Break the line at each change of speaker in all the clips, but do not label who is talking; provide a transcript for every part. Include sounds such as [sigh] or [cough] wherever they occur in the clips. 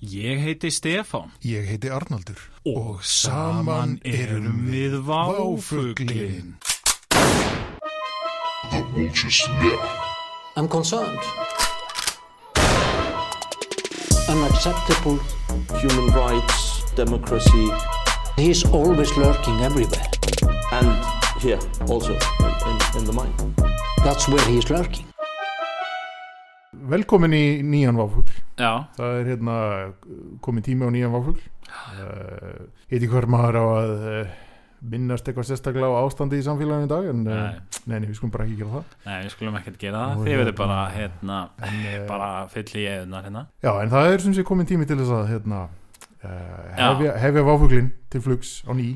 Ég heiti Stefán
Ég heiti Arnaldur
og saman erum við váfuglinn.
The vultures left.
I'm concerned. Unacceptable.
human rights, democracy,
He's always lurking everywhere.
and here also in, in, in the mind.
That's where he's lurking.
Velkomin í nýjan váfugl
Já,
Það er hérna komin tími á nýjan váfugl uh, Heiti hver maður á að uh, minnast eitthvað sérstaklega á ástandi í samfélaginu í dag en uh,
Nei.
nei, nei, við skulum bara ekki gera það
nei, við skulum ekkert gera það.
Nú,
Þið verður
hérna.
bara, hérna,
En, eh,
bara fyll í eðunar hérna.
Já, en það er sem sé komin tími til þess að hérna uh,
Já.
hefja, hefja váfuglin til flugs á ný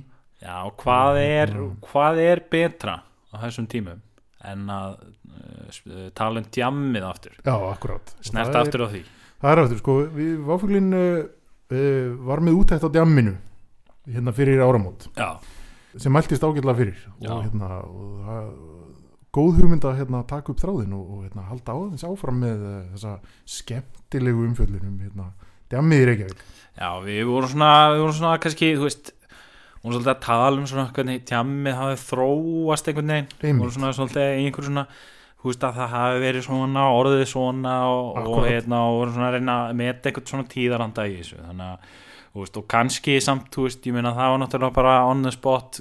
Já, hvað er, hvað er betra á þessum tímum en að uh, sp- uh, tala um djammið aftur?
Já, akkurát Og
Snert
það er-
aftur á því.
Það er aftur, sko, við, váfuglin uh, uh, var með útætt á djamminu hérna fyrir áramót
Já,
sem mæltist ágætlega fyrir
Já.
og, hérna, og það, góð hugmynd að hérna, taka upp þráðin og, og hérna, halda áðins áfram með uh, þessa skemmtilegu umfjöllunum hérna, djammið í Reykjavík
já, við vorum svona, við vorum svona kannski, þú veist, vorum svolítið að tala um svona hvernig djammið hafi þróast einhvern veginn.
Einmitt.
voru svona svolítið í einhverju svona þú veist að það hafi verið svona orðið svona og, og
Akkúrat.
hérna og voru svona að reyna að meta einhvern svona tíðaranda í þessu þannig að þú veist og kannski samt þú veist ég meina það var náttúrulega bara on the spot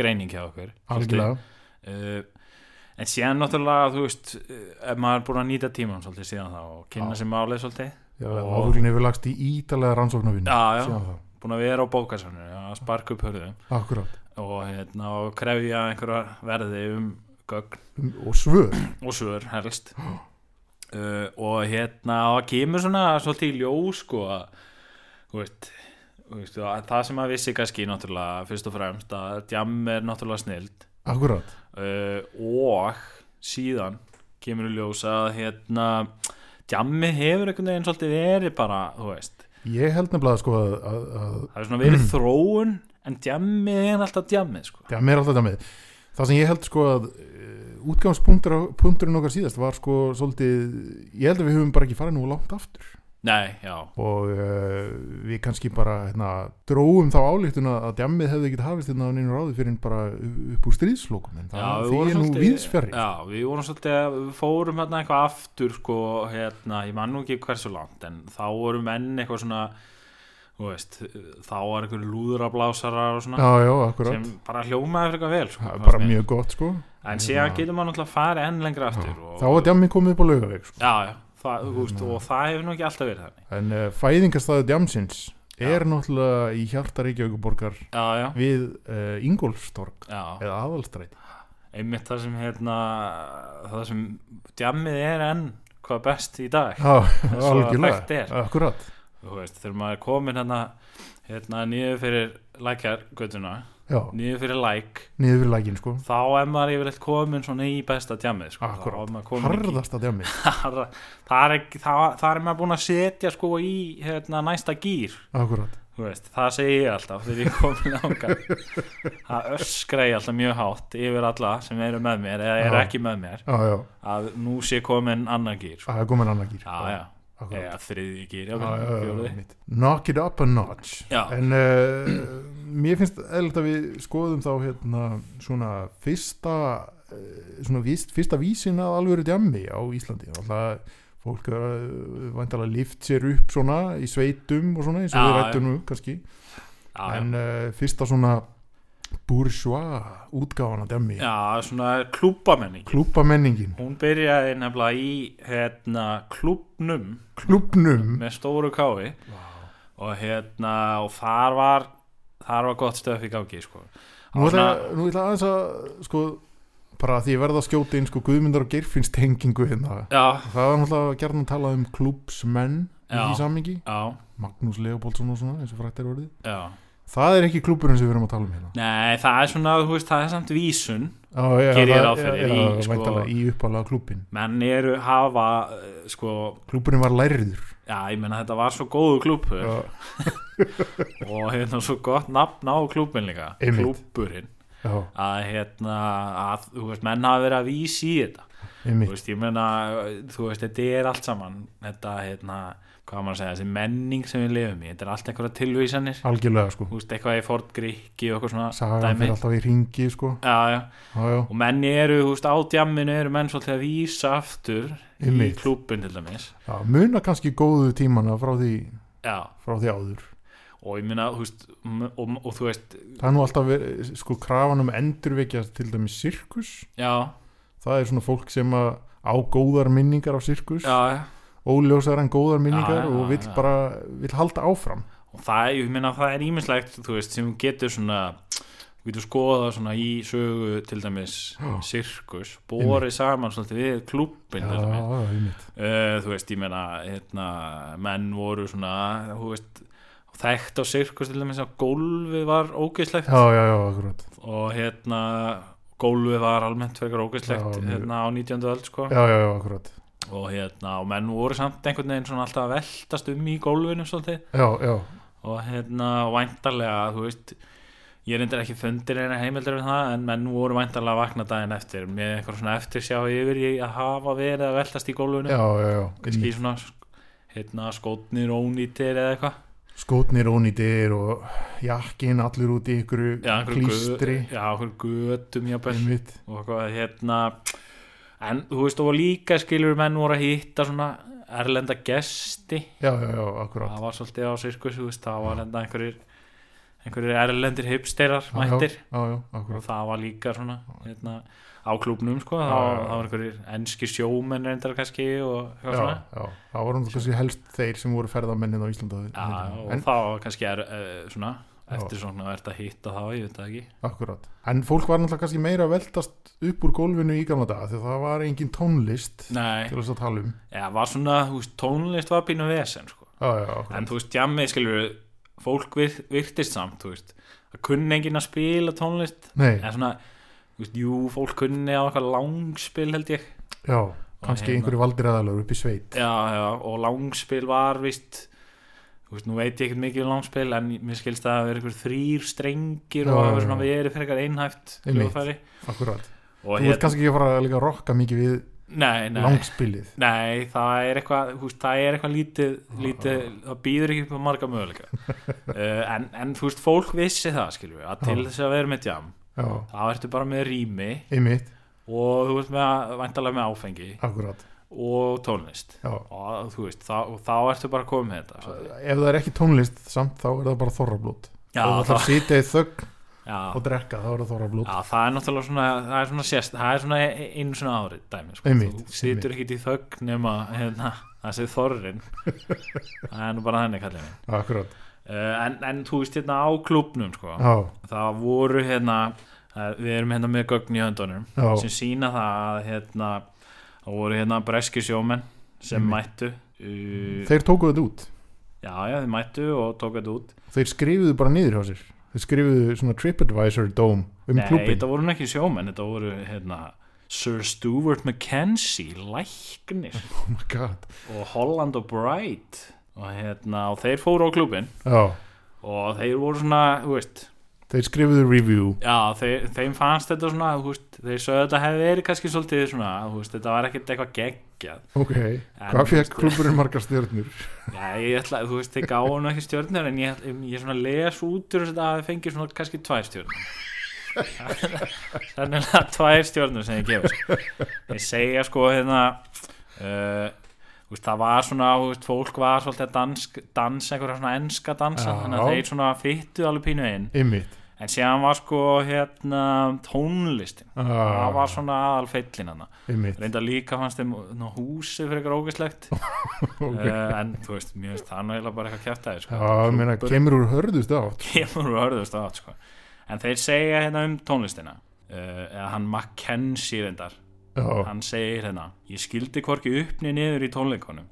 greining hjá okkur
algjörlega,
uh, en síðan náttúrulega þú veist uh, ef maður er búin að nýta tíman svolítið síðan þá og kynna
Já.
sér málið svolítið Og-
áfuglin hefur lagst í ítalega rannsóknarvinni
Já, já.
síðan það,
búin að vera á bókasafninu að sparka upp hörðum
akkurat
og hérna og krefja einhverja verði um gögn
Um, og svör,
og svör helst uh, og hérna og það kemur svona svolítið í ljós sko að þú veist, þú veist, að það sem að vissi kannski náttúrulega fyrst og fremst að djam er náttúrulega snild
akkurat
uh, og síðan kemur í ljós að hérna djammi hefur einhvern veginn svolítið verið bara þú veist,
ég held nefnilega sko að, að, að
það er svona verið þróun en djammi er alltaf djammi sko
djammið er alltaf djammið það sem ég held sko að uh, útgangspunkturinn okkar síðast var sko svolítið, ég held að við höfum bara ekki farið nú langt aftur
nei, já,
og uh, við kannski bara hérna, dróum þá álíktuna að djammið hefði ekki hafist hérna á neinu ráði fyrir en bara upp úr stríðslokum en
Já,
það
við
því
vorum
er nú
svolítið-
viðsferri
Já, við vorum svolítið, við fórum hérna eitthvað aftur sko, hérna, ég man nú ekki hversu langt en þá vorum menn eitthvað svona þú veist, þá var einhver lúðurablásarar og svona
já, já, akkurat
sem bara hljómaði fyrir eitthvað vel sko,
Það er
fannst
bara
mér.
mjög gott sko
En síðan getur maður náttúrulega farið enn lengra aftur og,
þá var djammið komið upp á laugaveg sko.
Já, já, það, þú veist, og það hefur nú ekki alltaf verið þannig
en uh, fæðingastæðu djamsins er náttúrulega í hjarta Reykjavíkuborgar
Já, já,
við uh, Ingolfstorg
já,
eða aðalstræti
einmitt það sem hérna, það sem djammið er enn hvað best í dag
Já,
svo að hægt
algjörlega,
er.
akkurat
þú veist, þegar maður er komin hérna, hérna nýður fyrir lækjargötuna,
já,
nýður fyrir læk
niður við lækin sko
þá er maður yfirleitt komin svona í besta djamið sko. Þá er
akkurat,
maður komin í-
harðasta djammið
Harða- það er, ekki, það, það er maður búin að setja sko í hérna, næsta gýr
akkurat,
Þú veist, það segi ég alltaf þegar ég komin ánga
[laughs]
það öskra ég alltaf mjög hátt yfir alla sem eru með mér eða eru
Já.
ekki með mér
já, já,
að nú sé komin annar gýr sko.
það er komin annar gýr
já, já,
akkurat
eða þriði gýr já,
Já, já, já,
fjóruði.
einmitt. knock it up a notch
Já.
en uh, mér finnst eðlut að við skoðum þá hérna svona fyrsta eh, svona víst, fyrsta vísin að alvöru djammi á Íslandi alltaf fólk er að væntalega lift sér upp svona í sveitum og svona eins og
Já,
við
já.
rættum nú kannski
Já, já.
en uh, fyrsta svona bourgeois útgáfana djammi
Já, svona klúbamenning
klúpa menningin,
Hún byrjaði nefnilega í hérna, klúbnum
klúbnum
með stóru kái og, hérna, og þar var þar var gott stöf í gangi sko.
Nú ætla,
Svona-
nú ætla aðeins að sko bara því ég verða að skjóta inn sko Guðmundar og Geirfinns tengingu hérna
Já,
það var náttúrulega gert að tala um klúbsmenn í
Já.
því samingi,
já,
Magnús Leopoldsson og svona eins og frætt er orðið,
já
það er ekki klúburinn sem við erum að tala um hérna
Nei, það er svona, þú veist, það er samt vísun
Já, já,
Geri ég
það-
ráð fyrir
já,
í,
já,
sko-
væntanlega í uppalega klúbin
menn eru hafa eh, sko,
klúburinn var lærður
já, ég meina þetta var svo góðu klúbur
Já.
og hérna svo gott nafn á klúbin líka
Einmitt.
klúburinn
já,
að hérna, að, þú veist, menn hafa verið að vísi í þetta þú
einmitt,
veist, ég meina þú veist, þetta er allt saman þetta, hérna, hvað á maður að segja, þessi menning sem við lifum í, þetta er allt einhverja tilvísanir
algjörlega sko
Þú veist, eitthvað í Ford Grikki og eitthvað svona
sagan fyrir alltaf í ringi sko
Já, já,
já, já,
og menn eru, þú veist, á djamminu eru menn svolítið að vísa aftur í
Einmitt.
klúbun til dæmis
já, muna kannski góðu tímana frá því,
Já,
frá því áður
og ég meina, þú veist, m- og, og, þú veist,
það er nú alltaf verið, sko krafan um endurvekja til dæmis sirkus
já,
það er svona fólk sem að á góðar minningar á sirkus
já, já
óljósar en góðar minningar
Já, já,
og vill
já.
bara vill halda áfram
og það, ég meina, það er ímislegt þú veist, sem getur svona þú getur skoða svona í sögu til dæmis sirkus borið saman svolítið við klúbbin til dæmis.
einmitt.
uh, þú veist, ég meina hérna, menn voru svona þú veist, þekkt á sirkus til dæmis að gólfið var ógeðslegt
já, já, já, akkurat
og hérna gólfið var almennt frekar ógeðslegt
Já, mjög.
hérna á 19. öld sko
já, já, já, akkurat
og hérna, og menn voru samt einhvern veginn svona alltaf að veltast um í gólfinu svolítið
já, já,
og hérna væntarlega þú veist ég reyndar ekki fundir eina heimildur við það en menn voru væntarlega að vakna daginn eftir með eitthvað svona eftirsjá yfir í að hafa verið að veltast í gólfinu
já, já, já.
kannski
einmitt.
svona hérna skotnir ónýtir eða eitthvað
skotnir ónýtir og jakkin allir út í ykkur
Já, einhverju
klístri
gö- já, einhverju götum jafnvel
einmitt,
og eitthvað, hérna en þú veist og líka skilur menn voru að hitta svona erlenda gesti
já, já, já, akkurat
það var svolítið á sirkus þú veist, það var enda einhverjir einhverjir erlendir hipsterar
Já,
mættir
já, já, já,
og
akkurat
það var líka svona hérna, á klúbnum sko,
Já,
það,
já, já.
það var einhverjir enski sjómenn reyndar kannski og
já,
eitthvað svona
já, það vorum kannski helst þeir sem voru ferðamennin á Íslanda
já, og
en,
það var kannski er, uh, svona
Já.
eftir svona verðt að hitta þá, ég veit það ekki
akkurat en fólk var náttúrulega kannski meira að veltast upp úr gólfinu í gamla daga því að það var engin tónlist
Nei,
til þess að tala um
já, var svona, þú veist, tónlist var pínu vesen sko.
já, já, akkurat,
en þú veist, jammið skilur fólk vir, virtist samt, þú veist það kunni enginn að spila tónlist
nei,
en svona, þú veist, jú, fólk kunni á eitthvað langspil held ég
já kannski
heima.
einhverju valdir aðalur upp í sveit
já, já, og langspil var vist þú veist, nú veit ég ekkert mikið um langspil en mér skilst að það verið einhver þrýr strengir og
Já,
það
já,
verið svona
já.
verið fyrir eitthvað einhæft
Einmitt.
hljóðfæri
akkurat,
og
þú ert
hérna,
kannski ekki að fara að líka að rokka mikið við
nei, nei
langspilið
Nei, það er eitthvað, þú veist, það er eitthvað lítið, lítið það býður ekki upp á marga
[laughs]
möguleika uh, en, en þú veist, fólk vissi það, skiljum við, að til
Já.
þess að vera með jam
já,
þá ertu bara með rými
einmitt,
og þú veist, með, væntalega með áfengi
akkurat
og tónlist
já.
og þú veist, þá, og þá ertu bara komið með þetta svolítið.
ef það er ekki tónlist samt þá er það bara þorrablót
Já,
og það
þá-
sitja í þögn
Já,
og drekka þá er það þorrablót
Já, það er náttúrulega svona, það er svona sérst, það er svona e, einu svona árið dæmi, sko,
Einmitt,
þú situr ekkit í þögn nema, hérna, það sé
[laughs]
þorrin, það er nú bara þannig kallið minn.
akkurat,
Uh, en, en þú veist hérna á klubnum, sko,
já,
það voru hérna, uh, við erum hérna með gögn í höndunum
já,
sem sína það að hérna, það voru hérna breski sjómenn sem mættu, uh,
þeir tóku þetta út
já, já, þið mættu og tók þetta út.
þeir skrifuðu bara niður hjá sér þeir skrifuðu svona TripAdvisor dóm um
Nei,
klubin
þetta voru nú ekki sjómenn, þetta voru hérna Sir Stuart McKenzie, læknir
[laughs] oh my god
og Holland og Bright og hérna, og þeir fóru á klubin
já,
og þeir voru svona, þú veist
þeir skrifuðu review
já, þeir, þeim fannst þetta svona, þú veist þeir sögðu að þetta hefði verið kannski svolítið svona þú veist, þetta var ekkert eitthvað geggjað
ok, hvað fekk klubburinn margar stjörnur
já, ég ætla, þú veist, þeir gáðu nú ekki stjörnur en ég, ég svona les út úr þetta að þeir fengi svona kannski tvær stjörnur sannilega tvær stjörnur sem ég gefur þeir segja sko hérna uh, þú veist, það var svona, þú veist, fólk var svolítið að dansk, dansa einhverja svona enska dansa
Já.
þannig að þeir svona fyttu alveg pínu inn
ymmit
en síðan var sko hérna tónlistin
Ah.
það var svona aðal feillin hann
ymmit,
reynda líka fannst þeim ná, húsið fyrir eitthvað
[laughs]
ógæslegt
ok
uh, en þú veist, mér finnst það náttúrulega bara eitthvað kjæftæði sko.
Já, ég meina, kemur úr hörðust átt
kemur og hörðust átt sko. en þeir segja hérna um tónlistina uh, eða hann Mackenzie reyndar
Já,
hann segir hérna ég skildi hvorki uppni niður í tónleikonum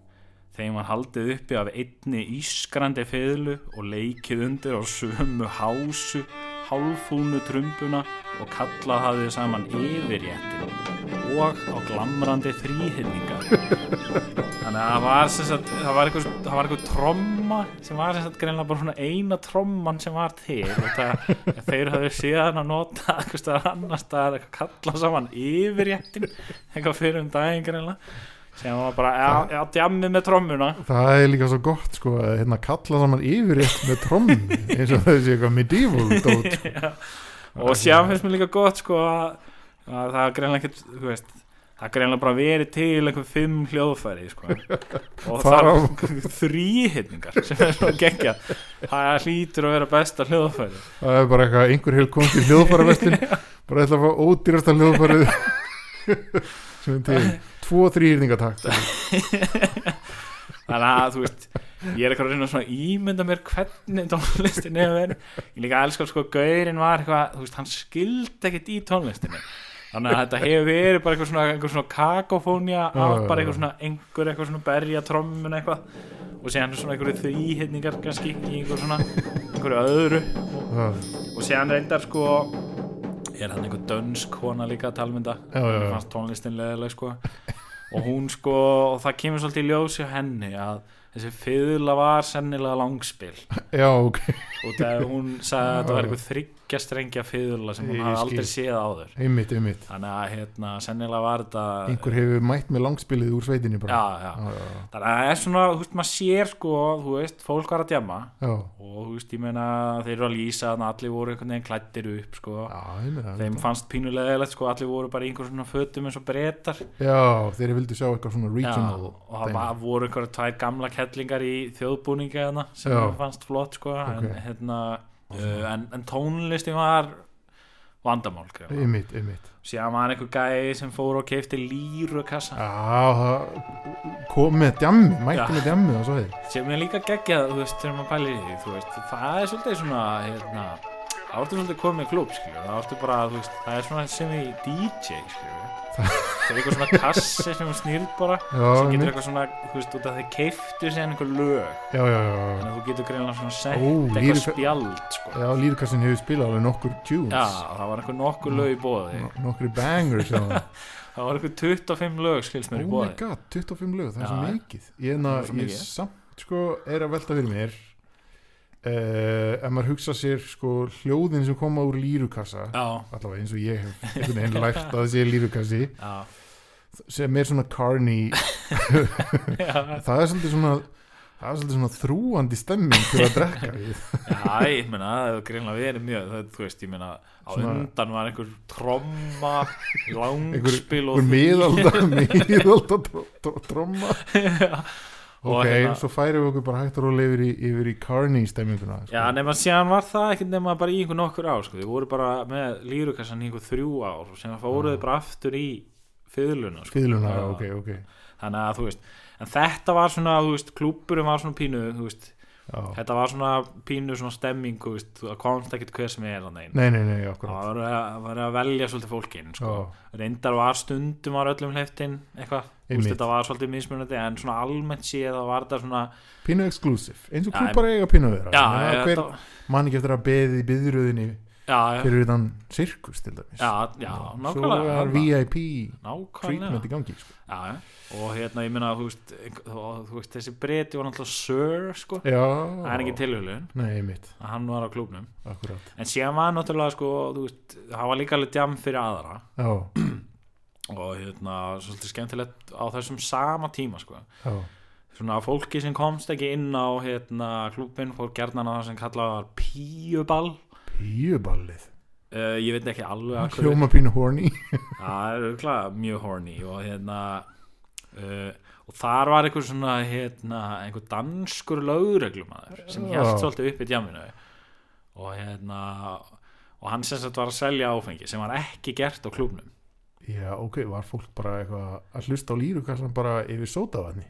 þeim var haldið uppi af einni ískrandi feðlu og leikið undir á sömu hásu hálfúnu trumbuna og kallað hafið saman yfirjættin og á glamrandi þrýhinningar þannig að það var sem sagt það var eitthvað, það var eitthvað tromma sem var sem sagt greinlega bara svona eina tromman sem var til og það, þeir höfðu síðan að nota eitthvað staðar annars staðar eitthvað kalla saman yfirjættin eitthvað fyrir um daginn greinlega sem var bara "Já, já, djammi með trommuna
Það er líka svo gott sko að hérna kalla saman yfirrétt með trommi eins og þessi eitthvað medieval dót [laughs] sko.
og síðan finnst mér líka gott sko að, að það er greinlega ekkert þú veist, það er greinlega bara verið til einhver fimm hljóðfæri sko. og
Þar
það
á-
er þrýhittningar sem er svo geggja það hlýtur að vera besta hljóðfæri
Það er bara eitthvað, einhver hefur komið til [laughs] hljóðfæravestin bara ætla að fá ódýrasta hljóðfærið [laughs] sem er til tvo þrýrningatakt
þannig að þú veist ég er eitthvað að reyna svona að ímynda mér hvernig tónlistin hefur verið ég líka elskar sko gaurinn var eitthvað þú veist hann skildi ekkert í tónlistinni þannig að þetta hefur verið bara eitthvað svona, eitthvað svona kakofónja
Já,
af
já,
bara
já.
eitthvað svona einhver eitthvað svona berja trommun eitthvað og séðan svona einhverju þrýhittningar kannski í einhver svona einhverju öðru
Það
og séðan reyndar sko er hann einhver dönsk kona líka að um talmynda
Já, já, já.
Mér fannst tónlistin leðileg sko og hún sko og það kemur svolítið í ljós hjá henni að þessi fiðla var sennilega langspil
Já, ok,
og þegar hún sagði að þetta var einhver þryggja strengja fiðla sem hún
Ég
hafði
skil.
aldrei séð áður
einmitt, einmitt
þannig að hérna sennilega var þetta
Einhver hefur mætt með langspilið úr sveitinni
já,
bara
já.
já, já,
þannig að það er svona, þú veist, maður sér sko þú veist, fólk var að djama
já, já,
og þú veist, ég meina, þeir eru að lýsa þannig að allir voru einhvern veginn klættir upp sko
já, einmitt, það.
þeim fannst pínulegilegt sko allir voru bara í einhver svona fötum eins og breytar
já þeir vildu sjá eitthvað svona regional
og það
dæmi.
var, voru einhverja tvær gamla kettlingar í þjóðbúninga þarna sem
Já.
mér fannst flott sko en,
Ok.
hérna, uh, en, en tónlistin var vandamál greinilega.
Einmitt, einmitt
síðan var einhver gæði sem fór og keifti lýru
Já, það kom með djammi, mætti
Já.
með djammi og svo þeir
sem er líka geggjað þú veist þegar maður pælir í því þú veist, það er svolítið svona hérna, það ertu svolítið komið í klub skilur, það ertu bara þú veist, það er svona sem í DJ skilur það er eitthvað svona kassi sem snýrð bara
Já,
sem getur
einmitt.
eitthvað svona þú veist út að þeir keiftu sér einhver lög
Já, já, já, já
þannig að þú getur greinlega svona sett
Ó,
eitthvað
lýrika-
spjald sko.
Já, Lýrkassin hefur spilað alveg nokkur tunes
já, það var einhver nokkur lög í bóði
no Nokkur bangers já.
[laughs] það var einhver 25 lög skils
Oh
mér í
my
bóði
god, 25 lög, það
Já,
er svo
já.
mikið Ég, na,
Það er svo
ég
mikið.
samt sko er að velta fyrir mér uh, Ef maður hugsa sér sko hljóðin sem koma úr Lýrkassa
já,
Allavega eins og ég hef einhvern veginn lært að það sé Lýrkassi
já,
Sem er svona carny
já,
Það er svolítið svona Það er svolítið svona þrúandi stemming til að drekka við.
Já, ég meina, það hefur greinlega verið mjög, það, þú veist, ég meina, á
Svona-
undan var einhver tromma,
[laughs]
langspil og
Úr miðalda, miðalda tr- tr- tromma
Og
Ok,
hérna-
svo færum við okkur bara hægt og róla yfir í, yfir í Carney stemminguna sko.
Já, nema síðan var það ekkert nema bara í einhver nokkur ár, sko, þið voru bara með lýrukassan í einhver þrjú ár og sem
Mm.
fóruðu bara aftur í fyrðluna, sko.
Fiðluna,
Já.
ok, ok
Þannig að, þú veist, en þetta var svona, þú veist, klúbburum var svona pínu, þú veist,
já.
þetta var svona pínu, svona stemming, þú veist, það komst ekkert hver sem er hann einn.
Nei, nei, nei,
Það
akkurat
var að, var að velja svolítið fólkin, sko. reyndar var stundum var öllum hleyftin eitthvað, Þú veist,
Einmitt.
þetta var svolítið mismunandi en svona almennt séð þá var þetta svona
Pínu exclusive, eins og
Já,
klúpar eiga pínu að vera
já,
Ég meina,
já,
hver,
þetta-
Mann ekki eftir að beðið í byðröðinni
já, já,
fyrir utan sirkus til dæmis
já, já,
Svo
nákvæmlega
er VIP treatment
nákvæmlega
í gangi sko.
já, já. og hérna ég meina þú veist, einhver- þá- þú veist þessi breyti var náttúrulega Sir sko,
Já
það er ekki tilhjulun
Nei, mitt,
að hann var á klúbnum
akkurat
en síðan var náttúrulega sko þú veist, það var líka alveg djam fyrir aðra
Já,
og hérna svolítið skemmtilegt á þessum sama tíma sko
já,
svona fólki sem komst ekki inn á hérna, klúbin fór gerðan á það sem kallað var píuball
píuballið
uh, ég veit ekki alveg að hverju
Hljóma pínu [laughs] horny
það er auðvitað mjög horny og hérna uh, og þar var einhver svona hérna, einhver danskur lögreglumæður sem
Já.
hjælt svolítið upp í djaminu og hérna og hann sem sagt var að selja áfengi sem var ekki gert á klúbnum
Já, ok, var fólk bara eitthvað að hlusta á lýrukassan bara yfir sótavatni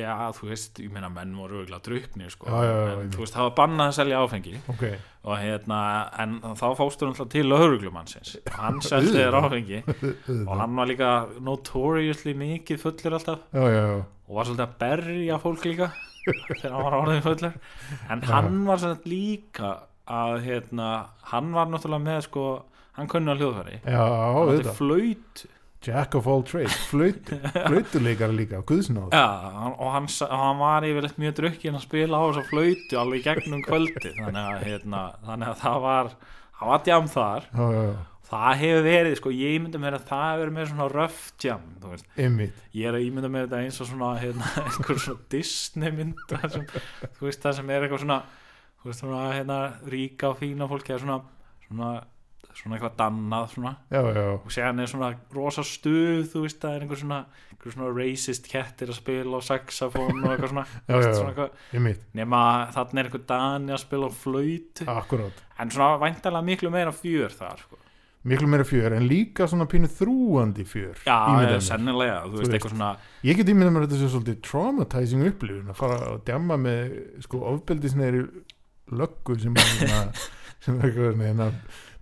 já þú veist, ég meina menn voru auðvitað druknir sko,
Já, já, já,
en
einmitt.
þú veist það var bannað að selja áfengi
Ok,
og hérna, en þá fóstur hann til lauruglumannsins og
[laughs]
hann seldi þér áfengi [laughs] og
auðvitað
hann var líka notoriously mikið fullur alltaf
Já, já, já,
og var svolítið að berja fólk
[laughs]
líka þegar hann var orðin fullur en hann var svolítið líka að hérna, hann var náttúrulega með sko, hann kunni á hljóðfæri
já,
hann
auðvitað
flöyt
Jack of all trades,
[laughs]
flöyt, flöytuleikar líka, guðsnáð
ja, hann- og hann, sa- og hann var yfirleitt mjög drukkin að spila á þess að flöytu alveg í gegnum kvöldi þannig að, hérna, þannig að það var hann var djám þar
Já, já, já,
það hefur verið, sko, ég ímynda mér að það hefur verið með svona rough jam þú veist
einmitt
ég er að ímynda mér þetta eins og svona hérna, [laughs] einhver svona Disney mynd það sem, þú veist það sem er eitthvað svona þú veist svona hérna ríka og fína fólki eða svona svona, svona eitthvað dannað svona
já, já,
og séðan er svona rosa stuð þú veist það er einhver svona, einhver svona racist kettir að spila og saxofón og eitthvað svona,
[laughs] Já,
þú veist,
já, já.
svona eitthvað,
einmitt
nema þarna er einhver dani að spila og flöytu
akkurát,
en svona væntalega miklu meira fjör þar sko.
miklu meira fjör en líka svona pínu þrúandi fjör
já,
ímynda mér.
sennilega, þú veist
veist.
eitthvað svona
ég get ímyndað mér að þetta sem svolítið traumatizing upplifun að fara að djamma með sko ofbeldisneiri löggu sem er svona,
[laughs]
sem er eitthvað svona, hérna,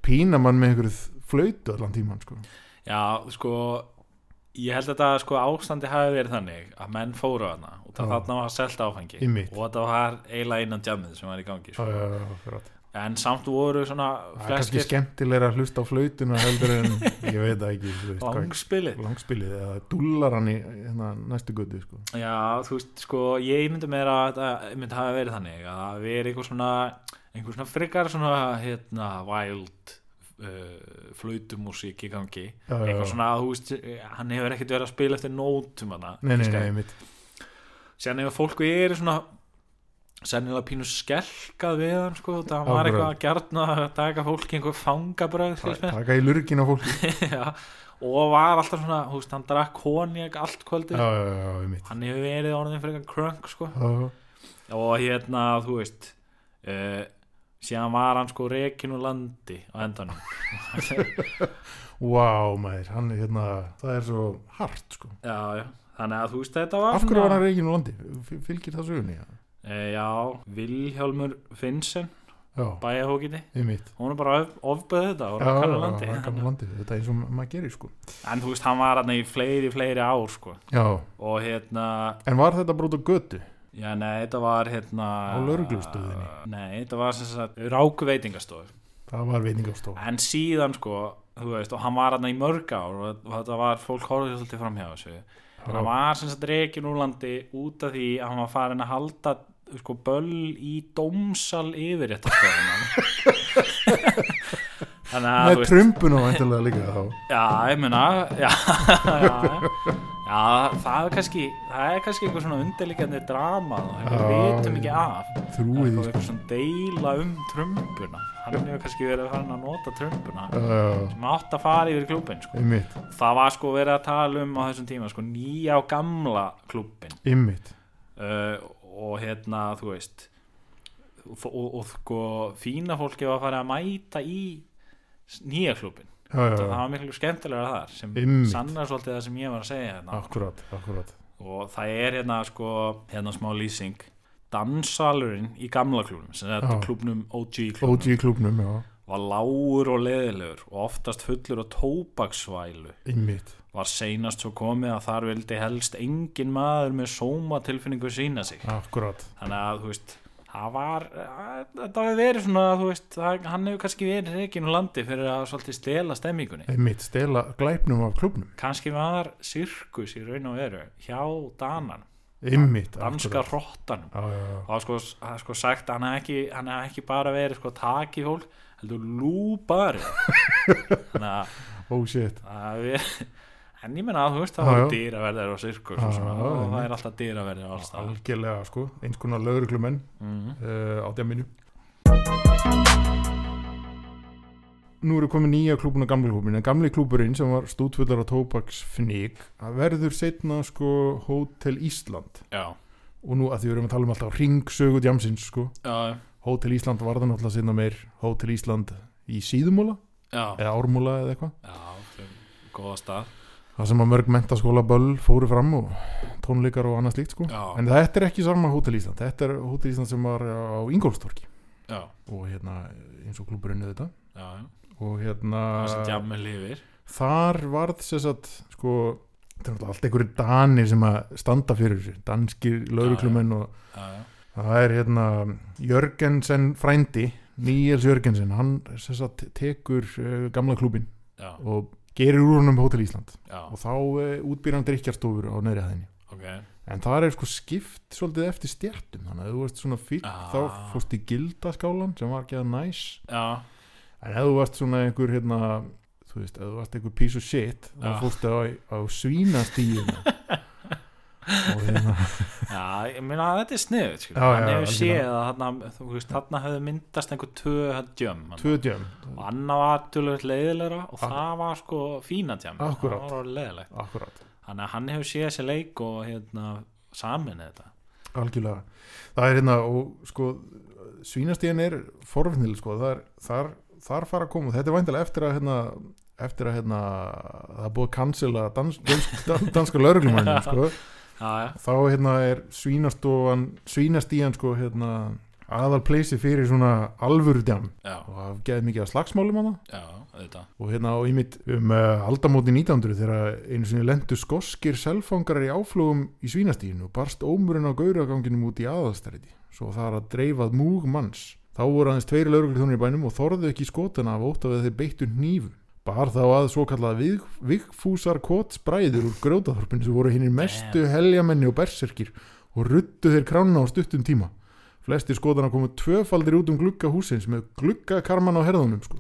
pína mann með einhverju þ- flautu allan tíman sko
Já, sko ég held að þetta sko ástandi hafi verið þannig að menn fóru þarna og það
Já.
þarna var selt áfengi
Einmitt.
og þetta var eiginlega innan djamið sem var í gangi
já,
sko.
já, já, akkurát.
en samt voru svona
það er kannski
fleskir
skemmtilega að hlusta á flautuna heldur
[laughs]
en ég veit það ekki þú veist, hvað-
langspili
langspilið eða dúllar hann í hérna, næstu götu sko.
Já, þú veist, sko, ég myndi mér að þetta myndi hafa verið þannig að það verið einhver svona, einhver svona frekar svona, hérna, wild uh, flautumúsík í gangi
Já, já,
eitthvað
já.
svona, þú veist, hann hefur ekkert verið að spila eftir nótum hana
nei, nei, nei,
[laughs]
mitt
síðan ef fólk er svona sennilega pínu skelkað við hann sko, það var
Akkurat.
eitthvað að gjarna að taka fólk í einhver fangabröð skilst mér.
taka í lurgin á fólki
[laughs] Já, og var alltaf svona, þú veist, hann drakk konjak allt
já,
kvöldið,
já, já, mitt
hann hefur verið orðin fyrir eitthvað krönk sko,
já,
[laughs] og hérna, þú veist uh, síðan var hann sko rekin úr landi á endanum
wow, maður, hann er hérna það er svo hart sko
já, já, þannig að þú veist, þetta var
af hverju var hann reikin úr landi, F- fylgir það sögunni já,
Eh, já, Vilhjálmur Finnsen,
já,
bæjahókiti
mitt
hún er bara of, ofböð þetta og
já,
rakkan á
já,
landi
rakkan á landi, þetta er eins og ma- maður gerir sko
En þú veist, hann var hann í fleiri, fleiri ár sko.
já,
og hérna,
en var þetta brot á götu
já nei, þetta var hérna
Á lögreglustöðinni?
Nei, þetta var sem sagt ráku veitingastof
það var veitingastof
En síðan sko, þú veist, og hann var hann í mörg ár og þetta var, fólk horfði svolítið framhjá þessu En hann var sem sagt reikin úr landi út af því að hann var farin að halda sko böll í dómsal yfir þetta stöðum [laughs] Þannig að þú
með
veist-
trumpun og endilega líka þá
Já, ég meina já, [laughs] já, já, það er kannski það er kannski eitthvað svona undirlíkjandi drama og við
Já, sko.
vitum ekki
já.
af Það
Trúið því,
er eitthvað svona deila um trumpuna hann hefur kannski verið að fara að nota trumpuna
já,
sem átt að fara yfir klúbin sko.
mitt,
það var sko verið að tala um á þessum tíma sko, nýja og gamla klúbin
mitt
uh, og hérna, þú veist og, og, og sko, fína fólki var að fara að mæta í nýja klúbin
já, já,
það
já,
var miklu skemmtilega þar sem
Einmitt.
sannar svolítið það sem ég var að segja hérna.
akkurat, akkurat
og það er hérna sko hérna smá lýsing dansalurinn í gamla klúbnum sem þetta
Já.
klúbnum OG klúbnum
OG klubnum, já,
var lágur og leðilegur og oftast fullur á tóbaksvælu
mitt
var seinast svo komið að þar vildi helst engin maður með sómatilfinningu sína sig
akkurat
þannig að þú veist það var, að- þetta hefur verið svona þú veist, það, hann hefur kannski verið reikinu landi fyrir að svolítið stela stemmingunni
einmitt stela glæpnum af klubnum
kannski var sirkus í raun og veru hjá Danan,
einmitt
danska
akkurat.
rottanum
Já, já, já.
og það er sko, það er sko sagt að hann hef ekki, hann hef ekki bara verið sko taki fólk, heldur lúbari þannig að
oh shit
það er verið en ég menna að þú veist
Já,
það
já.
voru dýraverðir og sirkus og,
Já,
svona,
já,
og það
einmitt.
er alltaf dýraverðir og alls Mhm. það
algjörlega sko, eins konar lögreglumenn uh, á djaminu Nú eru komin nýja klúbun og gamli klúbun en gamli klúburinn sem var stútfullar á tóbaksfnig að verður setna sko Hótel Ísland
já,
og nú að því við erum að tala um alltaf ringsögu djamsins sko
já,
Hótel Ísland var það náttúrulega setna meir Hótel Ísland í síðumúla
já,
eða ármúla eða eitthvað
já, já góða stað
það sem að mörg mentaskóla böll fóru fram og tónleikar og annað slíkt sko.
Já.
en þetta er ekki sama Hótel Ísland þetta er Hótel Ísland sem var á Ingólfstorki
já,
og hérna eins og klúburinn auðvitað
já, já,
og hérna
það sem djammi lifir
þar varð sér satt sko þetta er náttúrulega allt einhverju danir sem að standa fyrir þessu, danskir lauruklumenn og
já, já,
það er hérna Jörgensen frændi Níels Jörgensen, hann sér satt tekur uh, gamla klúbin
já,
og gerir úr honum Hótel Ísland
já,
og þá uh, útbýr hann drikkjarstofur á neðri hæðinni
ok
En það er sko skipt svolítið eftir stjættum þannig að ef þú varst svona fíll
Ah.
þá fórst í gildaskálan sem var ekki að næs
já,
en ef þú varst svona einhver hérna þú veist, ef þú varst einhver piece of shit þá
Já.
fórstu á, á svínastíðuna og hérna
Já, ég meina að þetta er sniðut
Já, já,
hann hefur
algjörlega.
séð að þarna, þú veist, þarna hefði myndast einhver tvö djömm hann.
tvö Ah. djömm
og annað var tölvöld leiðilegra og
Ak-
það var sko fína djömm það
Akkúrat.
var orðið leiðilegt
akkurat,
þannig að hann hefur séð þessi leik og hérna, samin þetta
algjörlega það er hérna og sko svínastíðan er forfinnileg sko þar, þar, þar fara að koma þetta er væntalega eftir að hérna eftir að hérna það er búið að cancela dans, dans, dans, danska lauruglumænin sko
já, já,
þá hérna er svínastofan svínastíðan sko hérna aðal pleysi fyrir svona alvöru djám
já,
og það geði mikið að slagsmálum hana
já, auðvitað
og hérna á ymitt um uh, aldamóti 1900 þegar einu sinni lendu skoskir selfangarar í áflugum í svínastíðinu og barst ómurinn á gauraganginum út í aðastræti svo þar að dreifað múg manns þá voru aðeins tveiri lauruglithónir í bænum og þorðu ekki skotana af ótt af þeir beittu hnífum bar þá að svo kallað vikfúsar kotsbræður úr grjótaþorpinu sem voru hinnir mestu heljamenni og berserkir og ruttu þeir krána á stuttum tíma flestir skotana komu tvöfaldir út um glugga húsins með gluggakarman á herðunum sko.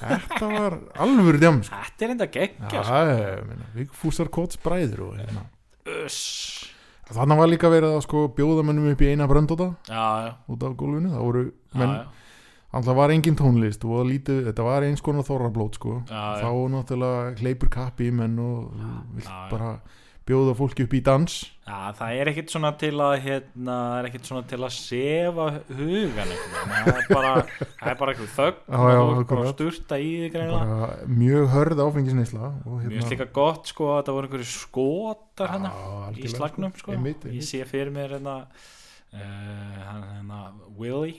þetta var alvöru djám sko.
Þetta er enda geggja sko.
Já, ég meina, vikfúsar kotsbræður og hérna
Uss.
Þannig var líka verið að sko bjóða mönnum upp í eina bröndóta
Já, já,
út af gólfinu, það voru
já,
menn,
já.
alltaf var engin tónlist og lítið, þetta var eins konar þorrablót sko
Já, já.
þá náttúrulega hleypur kappi í menn og þú vilt
já, já.
bara bjóða fólki upp í dans
Já, það er ekkit svona til að hérna, það er ekkit svona til að sefa hugan einhvern veginn. það er bara, [laughs] það er bara einhver þögn
Já, já,
og bara
akkurat.
sturta í því greinlega
bara mjög hörð áfengisneisla og
Mér finnst
hérna
líka gott sko að það voru einhverju skotar hana
Já,
í
algjörlega,
slagnum sko
einmitt,
Ég
einmitt.
sé fyrir mér hérna uh, hann hérna Willy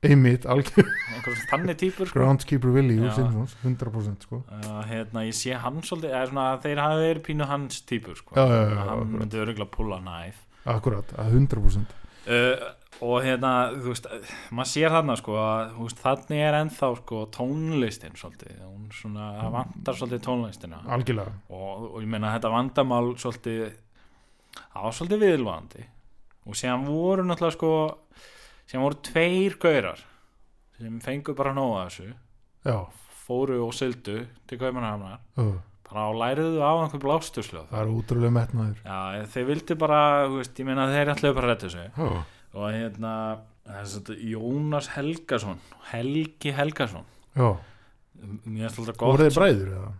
einmitt, algjör
einhverjum þannig típur sko
groundskeeper Willi úr
Já.
Simpsons, 100% sko
Uh, hérna, ég sé hann svolítið eða svona að þeir hafi verið pínu hans típur sko.
Já, já, já,
Þannig að hann
akkurat.
myndi öruglega pulla næf
akkurat, að 100%
uh, og hérna þú veist, maður sér þarna sko að þú veist, þannig er ennþá sko tónlistin svolítið, hún svona
Mm.
það vantar svolítið tónlistina og,
algjörlega,
og ég meina þetta vandamál svolítið það var svolítið viðlvandi og séðan voru náttúrulega sko séðan voru tveir gaurar sem fengu bara nóga þessu
já
fóru og syldu til kaupanarhamnar
uh,
bara og læriðu á einhver blástursljóð
það er útrúlega metnaður
Já, þeir vildi bara, þú veist, ég meina þeir ætlaðu bara að redda þessu
oh.
og hérna þess að Jónas Helgason Helgi Helgason
já,
mér finnst alltaf gott
voru þeir bræður eða?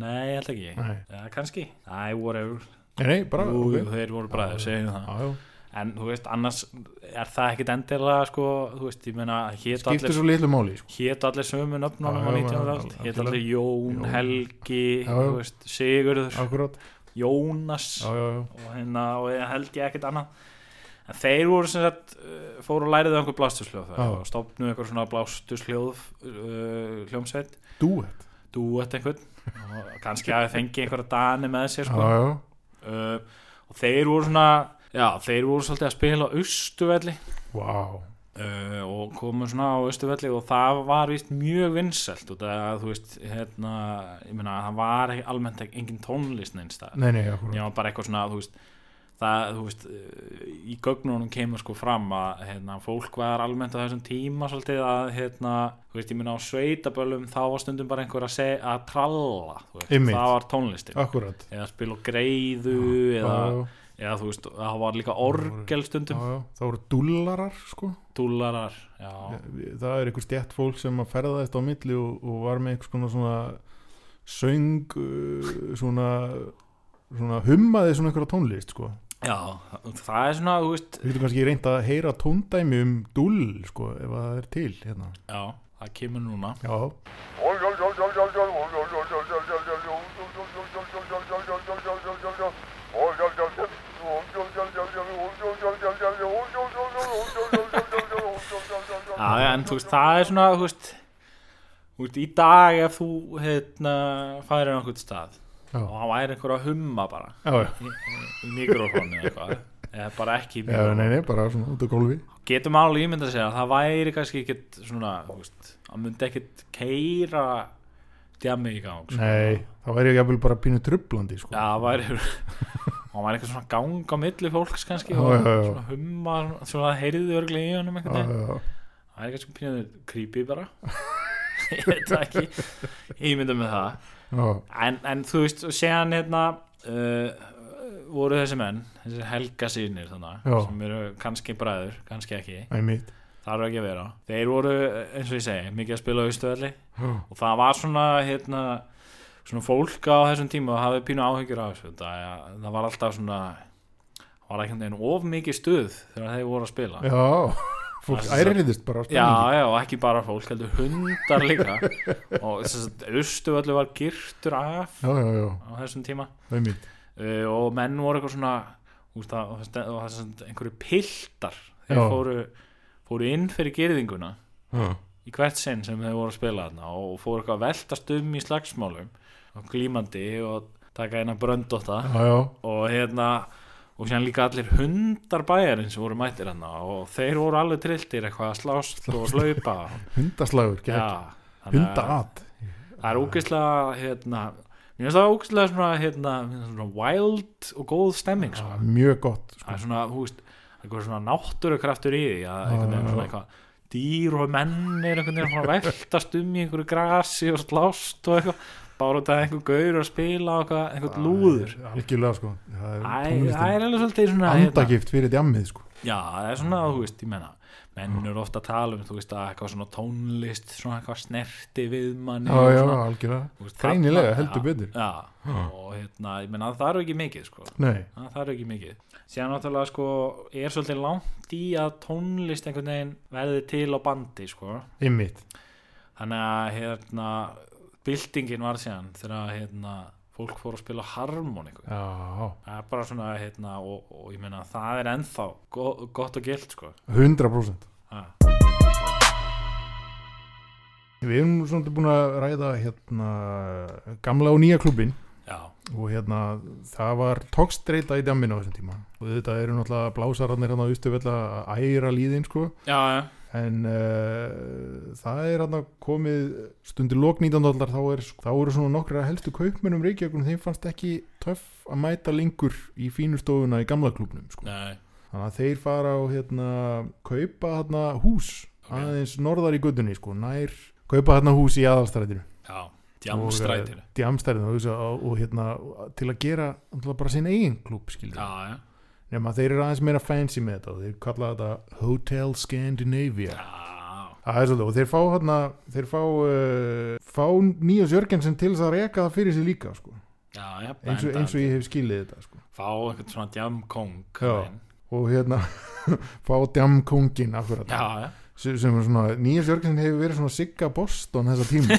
nei, ég held ekki,
Nei.
ja, kannski nei, whatever,
Nei, nei, bara,
Jú,
ok
jú, þeir voru bræðir, segjum það
Já, já.
en þú veist, annars er það ekkit endilega sko, þú veist, ég meina hét
skiptir
allir,
svo litlu máli sko.
hét allir sömu nöfnunum
Já,
á
já,
19.
já,
öld, hét
algjörlega.
allir Jón,
Jón.
Helgi
Já,
þú
já.
veist, Sigurður,
akkurat,
Jónas
já, já, já
og hérna, og ég held ég ekkert annað en þeir voru sem sagt eh, fóru og læriðu einhver blástursljóð
Já.
og stopnu einhver svona blástursljóð uh, hljómsveit,
duet,
dúett einhvern og kannski að fengi einhverja dani með sér
já,
sko.
já,
uh, og þeir voru svona já, þeir voru svolítið að spila á austuvelli
wow
uh, og komu svona á austuvelli og það var víst mjög vinsælt og það, þú veist, hérna ég meina, það var ekki- almennt ekki- engin tónlist neins það
nei, nei, akkurat,
Já, bara eitthvað svona, þú veist það, þú veist, eh, í gögnunum kemur sko fram að, hérna, fólk var almennt á þessum tíma svolítið að, hérna þú veist, ég minna á sveitaböllum þá var stundum bara einhver að, seg, að tralla þú veist,
Einmitt.
það var tónlistin
akkurat
eða spil og greiðu eða,
já, já.
eða, þú veist, það var líka orgel stundum,
Já, já, það voru dullarar sko
dúlarar já,
það er einhver stjætt fólk sem að ferðaðist á milli og, og var með einhvers konar svona söng uh, svona, svona hummaði svona einhverja tónlist sko
já, það er svona, þú veist
við getum kannski reynt að heyra tóndæmi um dull sko ef að það er til hérna.
já, það kemur núna
já,
Já, já, en þú veist, það er svona, þú veist, þú veist, í dag ef þú, hérna, færir einhvern stað
Já.
og hann væri einhver að humma bara
já, já,
í, í mikrofónu eða eitthvað, eða bara ekki í
já nei,
mikrofónu.
nei, bara svona út á gólfi
Getum alveg ímyndað sér að það væri kannski ekkit svona, þú veist, hann myndi ekkit keira djami í gang, sko.
nei, það væri jafnvel bara pínu trublandi sko
Já, það væri, [laughs] hann væri eitthvað svona gang á milli fólks kannski
Já,
og
já, já.
svona humma, svona heyrðu örglega í honum
já,
einhvern veginn.
já, já.
Það er kannski pínuð creepy bara [laughs] ég veit það ekki ímynda með það
Já,
en, en þú veist, og séðan hérna uh, voru þessi menn þessi helga sínir þannig
Já.
sem eru kannski bræður, kannski ekki
einmitt
þar er ekki að vera þeir voru, eins og ég segi, mikið að spila á austöðli
Já,
og það var svona hérna, svona fólk á þessum tíma og hafði pínu áhyggjur af þessu það, það var alltaf svona var ekki einn of mikið stuð þegar þeir voru að spila
já fólk
Það er svo-
ærirðist bara á
Já,
spenningi
já, og ekki bara fólk, heldur hundar
[laughs]
líka og austu öllu var girtur af
Já, já, já,
á þessum tíma
einmitt
uh, og menn voru eitthvað svona úst, það, og það var sem sagt einhverju piltar þeir
Já.
fóru, fóru inn fyrir girðinguna
Já,
í hvert sinn sem þeir voru að spila þarna og fóru eitthvað að veltast um í slagsmálum og glímandi og taka eina bröndóta
já, já,
og hérna og sér líka allir hundar bæjarinn sem voru mættir hann og þeir voru alveg trilltir eitthvað að slást og hlaupa
[laughs] hundaslagur gegn-
Já, þannig að-
Hundaat
það er ógeðslega hérna, mér finnst það ógeðslega svona, hérna, mér finnst svona wild og góð stemming
Já,
svona.
Mjög gott sko.
það er svona, þú veist, eitthvað svona náttúrukraftur í því að einhvern veginn
já.
svona eitthvað dýr og menn er einhvern veginn svona að veltast um í einhverju grasi og slást og eitthvað bara út af einhver gaur að spila og eitthvað, einhvern lúður
Algjörlega sko Það
Æ,
er
það er
tónlistin
alveg svolítið svona hérna-
Andagift fyrir djammið sko
Já, það er svona, þú veist, ég menna menn eru ofta að tala um, þú veist, að eitthvað svona tónlist, svona eitthvað snerti við manni
Já,
og
já,
svona, Þú
algjörlega
veist,
Greinilega
þarna-
heldur betur
Já, og hérna, ég menna það eru ekki mikið sko.
Nei,
það eru ekki mikið síðan náttúrulega sko, er svolítið langt í að tónlist einhvern veginn verði til á bandi sko.
einmitt
þannig að hérna, byltingin var síðan þegar hérna, fólk fór að spila harmoniku
Já,
það er bara svona hérna, og, og ég meina það er ennþá go gott og gilt sko.
100%
Ha.
Við erum nú svona búin að ræða hérna gamla og nýja klubin
já,
og hérna það var tókstreita í djamminu á þessum tíma og þetta eru náttúrulega blásararnir hérna ústufella að æra líðin sko
já, já,
en uh, það er hann komið stundir lok 19. aldar þá, er, þá eru svona nokkra helstu kaupmennum Reykjavíkunum þeim fannst ekki töff að mæta lengur í fínustofuna í gamla klubnum sko.
nei
þannig að þeir fara og hérna kaupa hérna hús
Ok.
aðeins norðar í göttunni sko, nær kaupa hérna hús í aðalstrætinu
já, djamstrætinu
og, eh, djamstrætinu og, hugsa- og, og hérna til að gera náttúrulega bara sinn eigin klub skilur
já, já,
nema þeir eru aðeins meira fancy með þetta og þeir kalla þetta Hotel Scandinavia
já,
Það er svolítið og þeir fá hérna, þeir fá, uh, fá nýja Jörgensen til þess að reka það fyrir sér líka sko.
já, já
eins, og, eins og ég hef skilið þetta sko.
fá eitthvað svona djamkong
Já.
þarna inn.
og hérna [laughs] fá djamkongin akkurat
já, já
sem sem er svona, nýja Jörgensen hefur verið svona sigga Boston þessa
[laughs]
tíma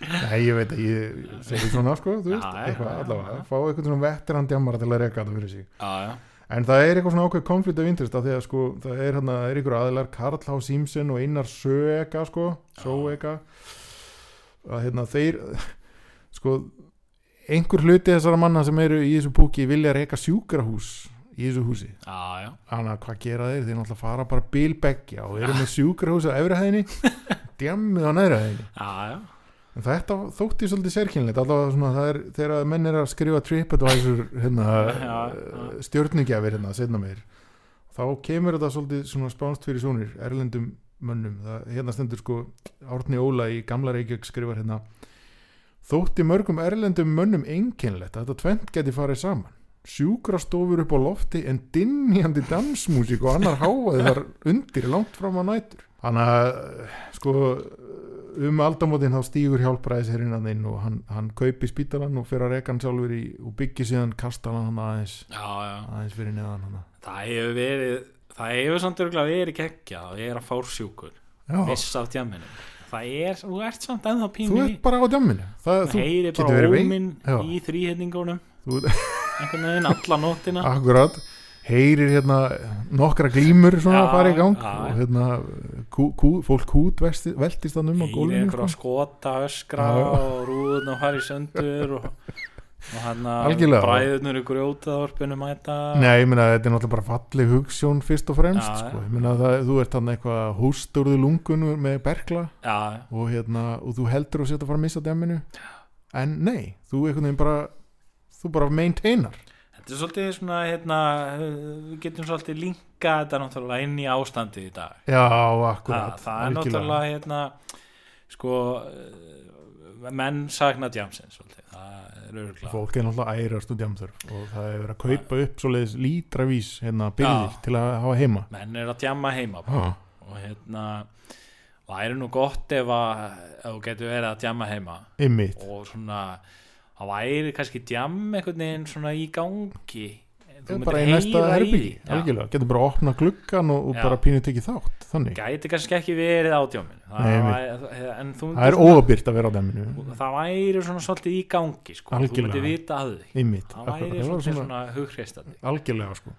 Nei, ég veit að ég segi svona sko, þú
Já,
veist,
já,
eitthvað
já,
allavega
já.
fá eitthvað svona veteran djamara til að reka þetta fyrir sig
já, já,
En það er eitthvað svona ákveð konflikt af interest af því að sko, það er hérna, það er ykkur aðilar Karl H. Simsen og Einar Söega sko, Söega að hérna þeir [laughs] sko, einhver hluti þessara manna sem eru í þessu púki vilja reyka sjúkrahús í þessu húsi
já, já,
þannig að hvað gera þeir, þeir náttúrulega fara bara bilbeggja og eru með sjúkrahús á efrihæðinni djemmið á næðrihæðinni
já, já.
En þetta þótti svolítið sérkynlegt allavega svona það er þegar menn er að skrifa TripAdvisor hérna,
[laughs] Já,
eh, stjörnugjafir hérna setna meir þá kemur þetta svolítið svona spánst fyrir sónir erlendum mönnum það, hérna stendur sko Árni Óla í gamla Reykjavík skrifar hérna þótti mörgum erlendum mönnum einkennlegt að þetta tvent geti farið saman sjúkrastofur upp á lofti en dinjandi dansmúsík og annar háaði þar undir langt fram á nætur þannig að sko um aldamótin þá stígur hjálpræðisherinn að inn og hann, hann kaupi spítalan og fyrir að reka hann sjálfur í og byggir síðan kastalan hann aðeins,
já, já.
aðeins fyrir neðan hann
það hefur verið það hefur samt örgulega verið geggja að vera fársjúkur,
Já,
viss af djamminu það er, þú ert samt ennþá
þú
pínu í
ert bara á djamminu það,
það
þú
heyri
getur
bara
verið veik.
óminn
Já.
í þrýhetningunum
Þú-
einhvern veginn alla
[laughs]
nóttina
Akkurat, heyrir hérna nokkra glímur svona
Já,
að fara í gang
já.
og hérna kú, kú, fólk kút vesti- veltist hann um á
heyri
gólfinu
einhverja
sko.
skota öskra
Já.
og rúðun og fari söndur og, og hann að
Algjörlega.
bræðunur í grjótaðorpinu mæta
Nei, ég meina þetta er náttúrulega bara falleg hugssjón fyrst og fremst
Já,
sko.
já.
Ég meina það, þú ert hann eitthvað hústurðu lungun með bergla
já,
og, hérna, og þú heldur að setja að fara að missa demminu en nei, þú einhvern veginn bara þú bara maintainar
Þetta er svolítið svona, hérna, við getum svolítið linka þetta náttúrulega inn í ástandið í dag.
já,
það, það
akkurat
er
algjörlega.
náttúrulega, hérna, sko eh, menn sakna djamsins svolítið. það er örgulega
fólk er náttúrulega ærast og djamþörf og það er verið að kaupa upp svoleiðis lítravís hérna
Já.
byrðir til að hafa heima
menn er að djamma heima
ha,
og hérna og það er nú gott ef að ef þú getur verið að djamma heima
ymmit,
og svona það væri kannski djam einhvern veginn svona í gangi þú myndir
bara í næsta
heyra í
herbyggi
því. Já.
algjörlega, getur bara að opna gluggan og, og
Já.
bara pínu tekið þátt, þannig
gæti kannski ekki verið á djáminu Það
Nei,
væri- en þú
það er
myndir
óabyrt að vera á dæminu,
svona- það væri svona svolítið í gangi sko. þú
Algjörlega.
myndir vita að því
ymmit
það væri
það var
svolítið
svona
svona hugreistandi
algjörlega sko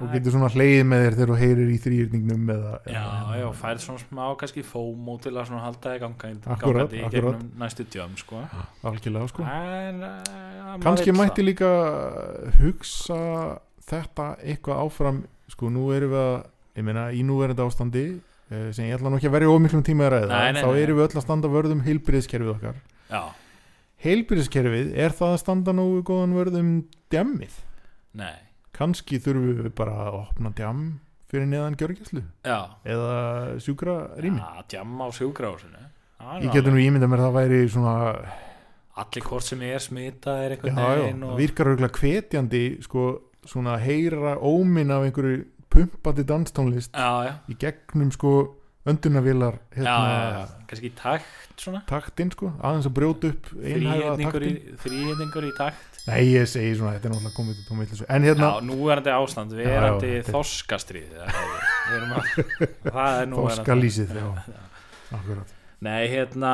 og getur svona hleið með þér þegar þú heyrir í þrýrningnum eða,
já,
eða-
já, færð svona smá kannski fómo til að svona halda þig ganga,
Akkúrat,
gangandi í
akkúrat.
gegnum næstu djám sko.
algjörlega sko
en uh,
kannski mætti líka hugsa þetta eitthvað áfram sko nú erum við að ég meina í núverandi ástandi eh, sem ég ætla nú ekki að verja ómiklum tíma að ræða
Nei, nei,
þá
nei,
erum við öll að standa vörð um heilbyrðiskerfið okkar
já,
heilbyrðiskerfið er það að standa nógu góðan vörð um djammið
nei,
kannski þurfum við bara að opna djam fyrir neðan gjörgjæslu
já
eða sjúkra rými
að djamma á sjúkrásinu
ég getur nú ímyndað mér að það væri svona
allir hvort sem er smita er
já,
einhvern
já,
veginn
það
og...
virkar auðvitað hvetjandi sko svona að heyra óminn af einhverju pumpandi danstónlist
já, já,
í gegnum sko öndunavilar
já,
hérna,
já, já, kannski í takt svona
taktinn sko, aðeins að brjóta upp einhæfa
þrýhendingur í,
taktinn
þríhyrningur í takt
Nei, ég segi svona, þetta er náttúrulega komið til tómið þessu. En hérna,
já, núverandi ástand,
já,
verandi
þetta er-
þorskastríð það er- við erum
[laughs]
að- það er
þorska
núverandi
lýsið
[laughs]
já, akkurat
nei, hérna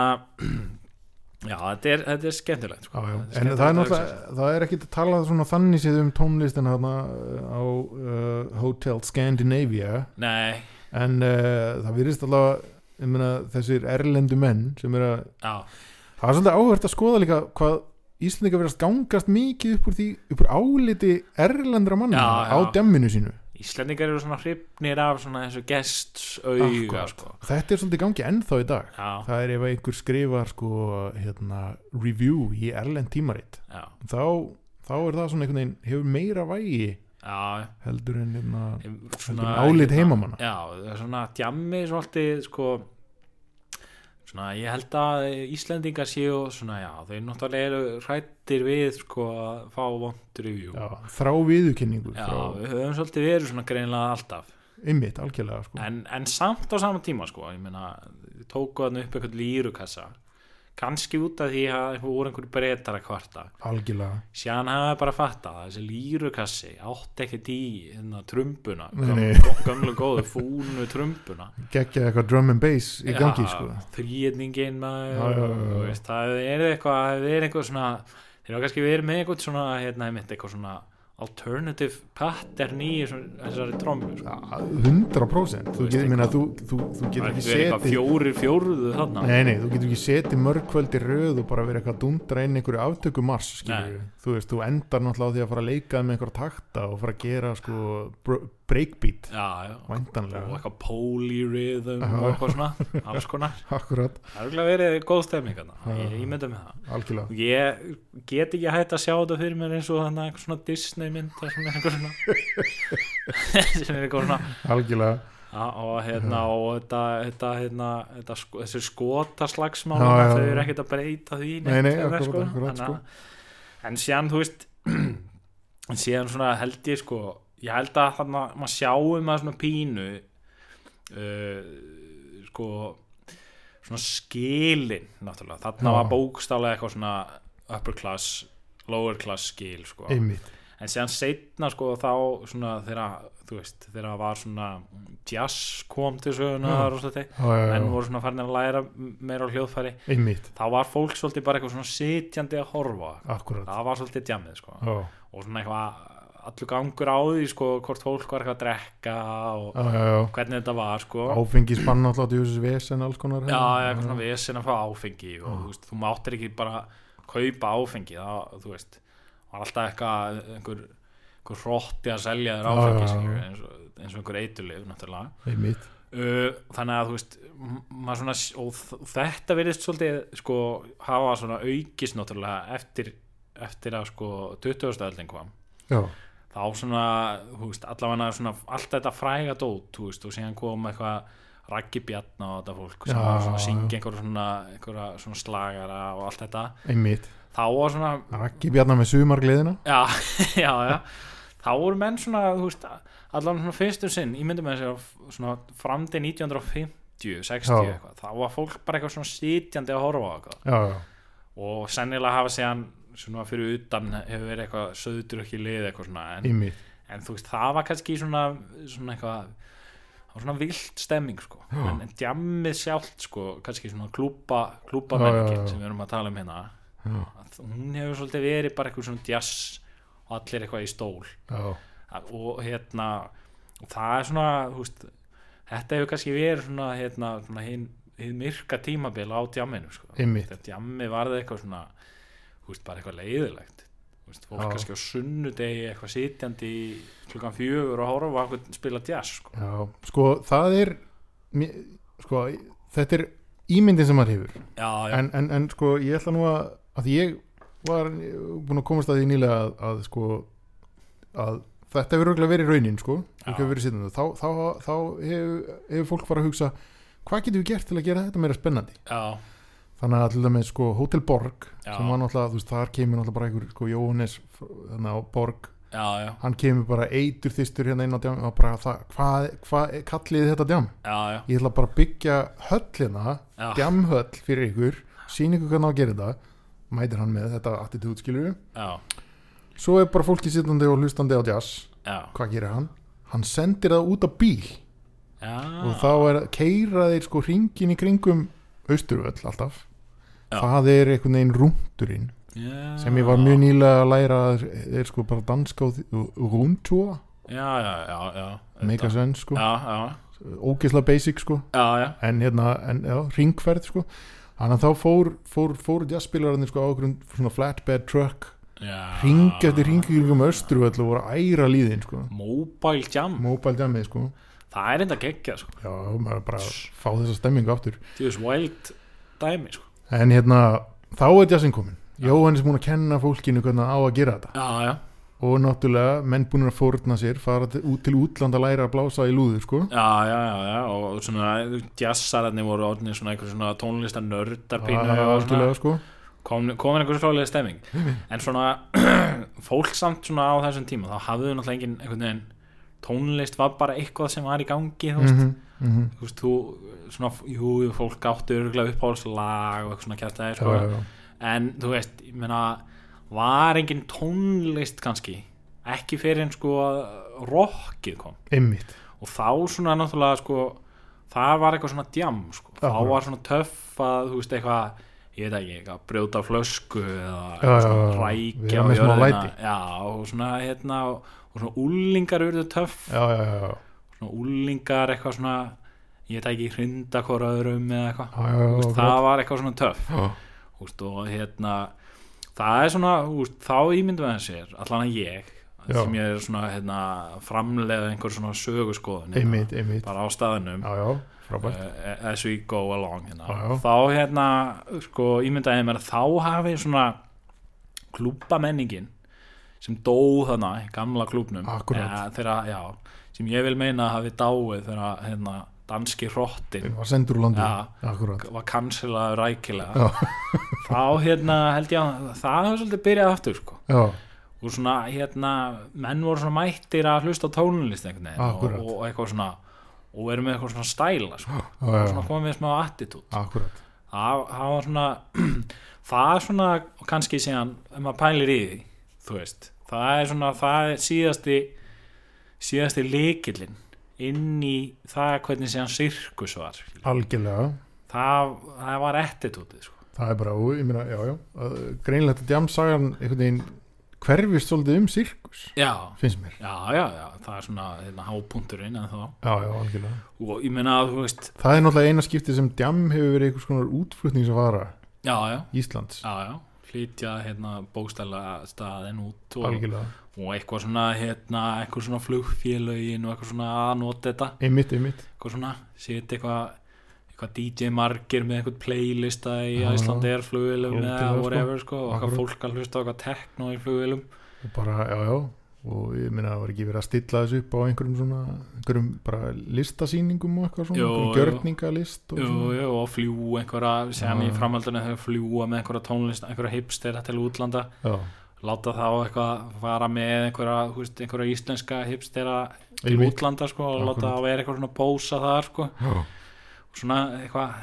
[clears throat] já, þetta er, þetta er skemmtilegt
já,
sko. Þetta
já. En það er
skemmtilegt að hugsa sér.
náttúrulega, það er ekkit að tala svona þannig séð um tónlistin hérna á uh, Hotel Scandinavia
nei,
en uh, það virðist allavega ég meina, þessir erlendu menn sem er að,
já,
það er svolítið áhvert að skoða líka hvað Íslendinga verðast gangast mikið upp úr því, upp úr áliti erlendra manna
Já,
á
já.
demminu sínu
Íslendingar eru svona hrifnir af svona þessu gestauga
Akkurat.
sko.
Þetta er svolítið í gangi ennþá í dag
já,
Það er ef einhver skrifar sko, hérna, review í erlend tímarit
já,
þá, þá er það svona einhvern veginn hefur meira vægi
já
heldur en hérna, heldur
svona hérna,
en álit heimamanna
Já, það er svona djammi svolítið sko svona ég held að Íslendingar séu svona já, þau náttúrulega eru hrættir við sko að fá vond review.
Já, þrá viðurkenningu
Já,
frá,
við höfum svolítið verið svona greinlega alltaf
einmitt, algjörlega sko.
en, en samt á sama tíma sko ég meina, þau tóku þarna upp eitthvað lírukassa kannski út af því að það voru einhverju breytar að kvarta
algjörlega
síðan hafa ég bara fattað að þessi lírukassi átti ekkert í hérna, trumbuna
Nei, nei.
göm- gömlu góðu fúnu trumbuna
geggja eitthvað drum and bass í gangi sko.
þrýðningin maður
Já, já, já, já.
þú Veist, það er eitthvað, það er eitthvað svona þeir eru kannski verið með eitthvað svona hérna, einmitt, eitthvað svona alternative pattern í þessum- þessari trommu sko.
Ja, 100% þú
veist
getur, minna,
eitthvað.
þú, þú, þú
það
getur
er
ekki
verið eitthvað
setið
fjórir fjóruðu þarna
Nei, nei, þú getur ekki setið mörg kvöld í röð og bara verið eitthvað að dundra inn einhverju aftöku mars, skilur við. Þú veist, þú endar náttúrulega á því að fara að leika með einhverja takta og fara að gera sko br- breakbeat,
já, já, og
væntanlega.
eitthvað polyrhythm
Já.
og eitthvað svona alls konar,
Akkurat,
það er örugglega verið góð stemning þarna. ég, ég mynda með það
algjörlega.
Ég get ekki hægt að sjá þetta fyrir mér eins og þannig einhver svona Disney mynd þar sem er einhver svona [laughs] sem er einhver svona
Algjörlega.
Já, og hérna og þetta, þetta, hérna, þetta sko, þessi skotaslagsmál
Já, já,
þau
já.
eru ekkert að breyta því
Nei, nei,
neitt, sko.
akkurat, akkurat, sko.
Þannig að- en síðan þú veist [clears throat] en síðan svona held ég sko ég held að þarna maður sjáum að svona pínu uh, sko svona skilin náttúrulega, þarna
Já.
var bókstálega eitthvað svona upper class, lower class skil sko
Einmitt.
en séðan setna sko þá svona þegar þú veist þegar það var svona jazz kom til sögunar og svolítið
Já, já,
menn
já,
voru svona farin að læra m- meira á hljóðfæri
einmitt.
þá var fólk svolítið bara eitthvað svona sitjandi að horfa
Akkurat.
það var svolítið djamið sko
Já,
og svona eitthvað allur gangur á því sko hvort fólk var eitthvað að drekka og
já, já, já.
hvernig þetta var sko
Áfengisbann náttúrulega til þessu vesen alls konar.
já,
hérna.
eitthvað svona vesen að fá áfengi og
Mm.
þú veist, þú máttir ekki bara kaupa áfengi þá, þú veist, var alltaf eitthvað einhver, einhver hrótti að selja þér
Já,
áfengi
já, já.
skilur, eins, og, eins og einhver eiturlif náttúrulega
Einmitt.
uh, þannig að þú veist m- maður svona, s- og þ- þetta verðist svolítið sko, hafa svona aukist náttúrulega eftir, eftir að sko 20. öldin kom
Já,
þá svona, þú veist, allavega svona allt þetta fræga dót, þú veist, og síðan kom eitthvað Raggi Bjarn og þetta fólk
Já,
sem var svona að
já.
syngja einhverja svona, einhverja svona slagara og allt þetta
einmitt
þá var svona,
Raggi Bjarnar með sumargleðina
já, [laughs] já, já þá voru menn svona, þú veist allan svona fyrstum sinn, ég myndi með sér að svona framdi 1950 60
Já.
eitthvað, þá var fólk bara eitthvað svona sitjandi að horfa á eitthvað
já, já,
og sennilega hafa séðan svona fyrir utan hefur verið eitthvað söður ekki lið eitthvað svona en,
einmitt
en þú veist það var kannski svona, svona eitthvað það var svona vilt stemming sko en, en djammið sjálft sko kannski svona klúpa, klúpa
Já, já, já.
sem við erum að tala um hérna
Já.
að hún hefur svolítið verið bara eitthvað svona jazz og allir eitthvað í stól
já,
Að- og hérna og það er svona þú veist, þetta hefur kannski verið svona hérna svona hinn hin myrka tímabil á djamminu sko.
Einmitt.
þegar djammi varði eitthvað svona þú veist, bara eitthvað leiðilegt Þú veist, fólk
Já.
kannski á sunnudegi eitthvað sitjandi í klukkan fjögur og horfa á eitthvað spila jazz sko.
já sko það er mér- sko þetta er ímyndin sem maður hefur
já, já,
en, en, en sko ég ætla nú að að ég var búin að komast að því nýlega að, að sko að þetta hefur örugglega verið raunin sko
Já.
hefur verið sittandi. þá, þá, þá hefur hef fólk farið að hugsa hvað getum við gert til að gera þetta meira spennandi
já,
þannig að til dæmis sko Hotel Borg
Já.
sem var náttúrulega, þú veist, þar kemur náttúrulega bara einhver sko Jóhannes fr- þarna á Borg
já, já,
hann kemur bara eitur þýstur hérna inn á djám og bara það, hvað, hvað kalliði þetta djám
já, já,
ég ætla bara að byggja höll hérna
Já.
djamhöll fyrir ykkur sín ykkur hvernig á að gera þetta mætir hann með þetta attitude skilur
já,
svo er bara fólki sittandi og hlustandi á jazz
já,
hvað gerir hann? hann sendir það út á bíl og
já,
þá er keira þeir sko ringin í kringum austurvöll alltaf
Já.
það er einhvern veginn rúndurinn
já
sem ég var mjög nýlega að læra að þeir- þeir sko bara danska og rúndtúa
já, já, já, já,
mega
Þetta-
senn sko,
já, já,
ógisla basic sko
já, já,
en hérna, en já, ringferð sko þannig að þá fór, fór, fór jazzspilararnir sko á okkur svona flatbed truck
já
ring eftir ringingum östruvöll og voru að æra líðin sko
mobile jam
mobile jammið sko
það er enda geggja sko
já, maður bara að fá þessa stemmingu aftur
Djús wild dæmi sko
en hérna, þá er jazzin komin Jóhannes er múin að kenna fólkinu hvernig á að gera þetta
Já, já,
og náttúrulega menn búin að fórna sér fara til, út til útlanda að læra að blása í lúður sko
já, já, já, já. og svona jazzararni voru orðinir svona einhver svona tónlistar nördar pínu
Það
og
er
svona
algjörlega, sko.
kom, komin einhver svolítið
[laughs]
stemming en svona [clears throat] fólk samt svona á þessum tíma þá hafðu náttúrulega engin einhvern veginn tónlist var bara eitthvað sem var í gangi þú veist,
Mhm, mhm.
þú veist, þú svona, jú, jú, fólk áttu örgulega uppáhalslag og eitthvað svona kjartaði,
Já,
sko
já, já.
en þú veist, ég meina var engin tónlist kannski ekki fyrir en sko að rockið kom
einmitt
og þá svona náttúrulega sko það var eitthvað svona djam sko. þá
Já.
var svona töff að þú veist eitthvað ég veit ekki, eitthvað, brjóta flösku eða
Já,
svona
já, já.
rækja
Vera
á
með smá
jörðina.
læti.
já, og svona hérna og, og svona úlingar urðu töff
já, já, já, já.
svona úlingar eitthvað svona ég veit ekki, hrinda hvora öðrum eða eitthvað
Já, já, já,
Þú veist,
akkurat.
það var eitthvað svona töff
Já.
Þú veist, og hérna það er svona, þú veist, þá ímyndum við sér allan að ég
Já.
sem ég er svona hérna, framlega einhver svona söguskoðun hérna,
einmitt, einmitt
bara á staðinum
já, já, frábært
uh, as we go along hérna.
Já, já.
þá hérna sko ímyndaði ég mér að þá hafi svona klúpa menningin sem dó þarna í gamla klúpnum
Akkúrat.
þegar, já, sem ég vil meina að hafi dáið þegar hérna, danski hrottin
var sendur úr landi
Já.
akkurat
var kanselaður rækilega
Já.
þá hérna held ég að það hefur svolítið byrjað aftur sko
já,
og svona hérna menn voru svona mættir að hlusta á tónlist einhvern veginn
Akkúrat.
og, og eitthvað svona og verið með eitthvað svona stæla sko.
já,
og
já.
svona komið með smá attitút
akkurat
það það var svona [clears throat] það er svona og kannski síðan ef maður pælir í því þú veist það er svona það er síðasti síðasti lykillinn inn í það hvernig síðan sirkus var skilur.
algjörlega
það, það var attitútið sko.
það er bara, ó, ég meina, já, já uh, greinilegt að djamsagan einhvern veginn hverfist svolítið um sirkus
já,
finnst mér,
já, já, já það er svona hérna, hápunturinn en þá
já, já, algjörlega
og ég meina að þú veist
það er náttúrulega eina skiptið sem djam hefur verið einhvers konar útflutningsvara
já, já,
Íslands,
já, já flytja hérna bókstæla staðin út og,
algjörlega
og eitthvað svona hérna, eitthvað svona flugfélögin og eitthvað svona að nota þetta
einmitt, einmitt,
eitthvað svona, setja eitthvað eitthvað DJ margir með eitthvað playlista í
Já,
Æslandi er flugilum
algjörlega,
eða
sko.
whatever sko, og eitthvað
Akkurat.
fólk að hlusta á eitthvað techno í flugilum
og bara, já, já og ég minna að var ekki verið að stilla þessu upp á einhverjum svona einhverjum bara listasýningum og eitthvað svona
Jú,
einhverjum
jú.
gjörningalist og
Jú,
svona
jú, og fljú einhverja sem
Já.
í framhaldinu hefur fljúa með einhverja tónlist, einhverja hipster til útlanda,
Já.
láta þá eitthvað fara með einhverja, þú veist, einhverja íslenska hipstera til
Einmitt.
útlanda sko, og láta
Akkurat.
þá vera eitthvað svona pósa þar sko,
Já.
svona eitthvað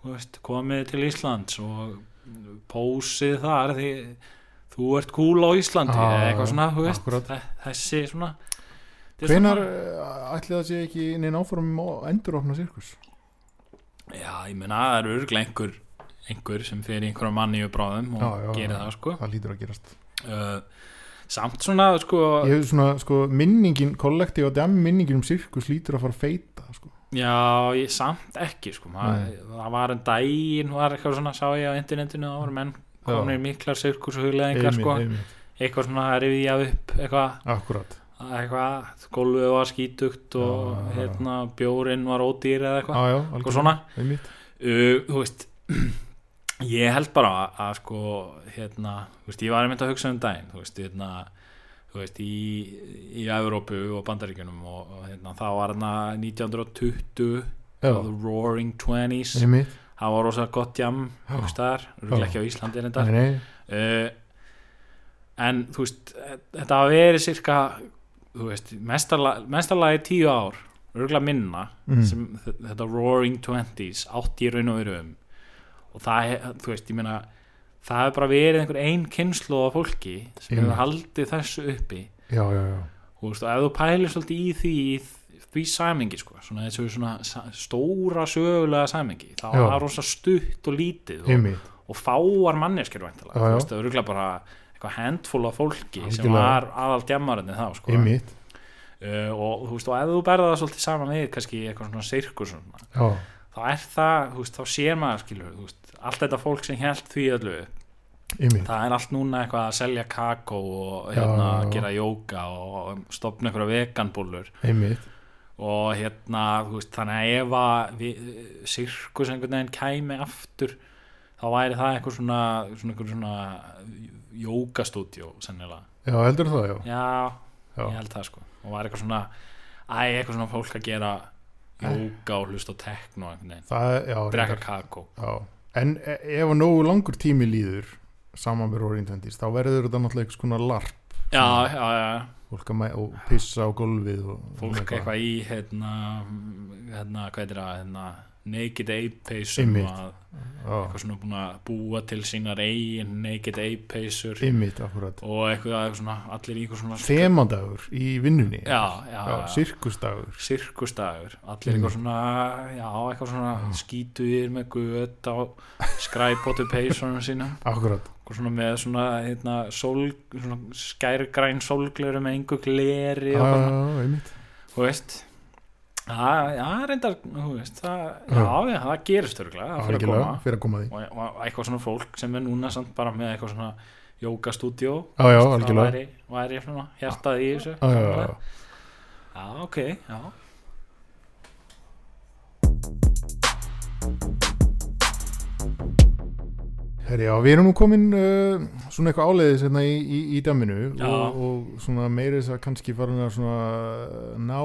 þú veist, komið til Íslands og pósið þar því þú ert kúl á Íslandi
Já,
eða eitthvað svona, þú veist,
akkurat.
þe- þessi svona þetta er
Hvenar
svona-
eh, ætli það sé ekki neina áfram og enduropna sirkus?
Sko. Já, ég meina, það eru örglega einhver einhver sem fer í einhverjum manníu bráðum og
Já, já,
gerir
já.
það, sko
Það lítur að gerast
uh, Samt svona, sko
Ég hef svona, sko, minningin kollektív og dæmi minningin um sirkus lítur að fara að feita sko.
Já, ég, samt ekki, sko það,
Nei.
það var en daginn, var eitthvað svona sá ég á internetinu, það voru menn komin í miklar sirkushugleðingar, sko
einmitt,
eitthvað svona að rifja upp eitthvað,
akkurat
eitthvað gólfið var skítugt og
Já, já, já.
hérna, bjórinn var ódýr eða eitthvað,
Já, já,
eitthvað
algjörlega.
svona
einmitt.
uh, þú veist [clears throat] ég held bara að, að sko hérna, þú veist, ég var einmitt að hugsa um daginn þú veist, hérna þú veist, í, í Evrópu og Bandaríkjunum og, og hérna, það var hérna 1920
Já.
the roaring 20s
einmitt
það var rosa gott jam einhvers staðar,
Já.
örugglega ekki á Íslandi
Nei,
reyndar
nei,
uh, en þú veist þetta hafa verið cirka þú veist, mestarla- mestarlagi tíu ár örgulega minna
Mm.
sem þ- þetta Roaring Twenties átti í raun og veru um og það, he- þú veist, ég meina það hefur bara verið einhver ein kynslu af fólki sem
Einmitt.
hefur haldið þessu uppi
já, já, já
þú veist, og ef þú pælir svolítið í því í því samingi, sko, svona þessu svona sa- stóra sögulega samingi þá
Já.
var það rosa stutt og lítið og,
einmitt,
og fáar manneskir væntalega,
Já,
þú
já.
veist, það eru örugglega bara eitthvað handfúl af fólki sem
Algjörlega.
var aðal djamarinni þá, sko
einmitt
uh, og þú veist, og ef þú berða það svolítið saman við kannski eitthvað svona sirkur svona,
já,
þá er það, þú veist, þá sér maður skilur, þú veist, allt þetta fólk sem held því öllu,
einmitt,
það er allt núna eitthvað að selja kakó og
Já,
hérna,
já, já.
gera jóka og stopna einhverja veganbúlur
einmitt
og hérna, þú veist, þannig að ef að við, sirkus einhvern veginn kæmi aftur, þá væri það eitthvað svona, svona, einhver svona jókastúdjó, sennilega
já, heldur það, já,
já,
já.
ég held það sko og var eitthvað svona æ, eitthvað svona fólk að gera jóka og hlusta á tekno einhvern veginn,
það, já,
drekka
reyndar,
kakó
já. en e- ef að nógu langur tími líður saman með Roaring Twenties, þá verður þetta náttúrulega einhvers konar larp,
já, já, já,
fólk að mæ og pissa á gólfið og
fólk
og
eitthvað í hérna, hérna, hvað er það hérna, naked ape peysum
Einmitt.
að-
já,
eitthvað svona búin að búa til sínar eigin naked ape peysur
einmitt, akkurat
og eitthvað, eitthvað svona, allir í eitthvað svona
þemandagur í vinnunni
já, já,
já,
já.
sirkustagur
sirkustagur allir
Mm.
eitthvað svona, já, eitthvað svona skítuðir með göt á skræpotu peysunum sína
akkurat,
og svona með svona, hérna, sól, svona skærgræn sólgleru með engu gleri og
já, já,
svona,
já, einmitt
þú veist það já, reyndar, þú veist það,
Já.
já, já, það gerist örgulega það fyrir að
Algjörlega,
koma
fyrir að koma að því
og, og eitthvað svona fólk sem er núna samt bara með eitthvað svona jókastúdíó
já, já,
það
algjörlega já,
væri, væri svona hjartað í þessu
já, já, já.
já, ok, já
Herri, já, við erum nú komin uh, svona eitthvað áleiðis hérna í, í, í dæminu
Já.
og, og svona meiri þess að kannski farin að svona uh, ná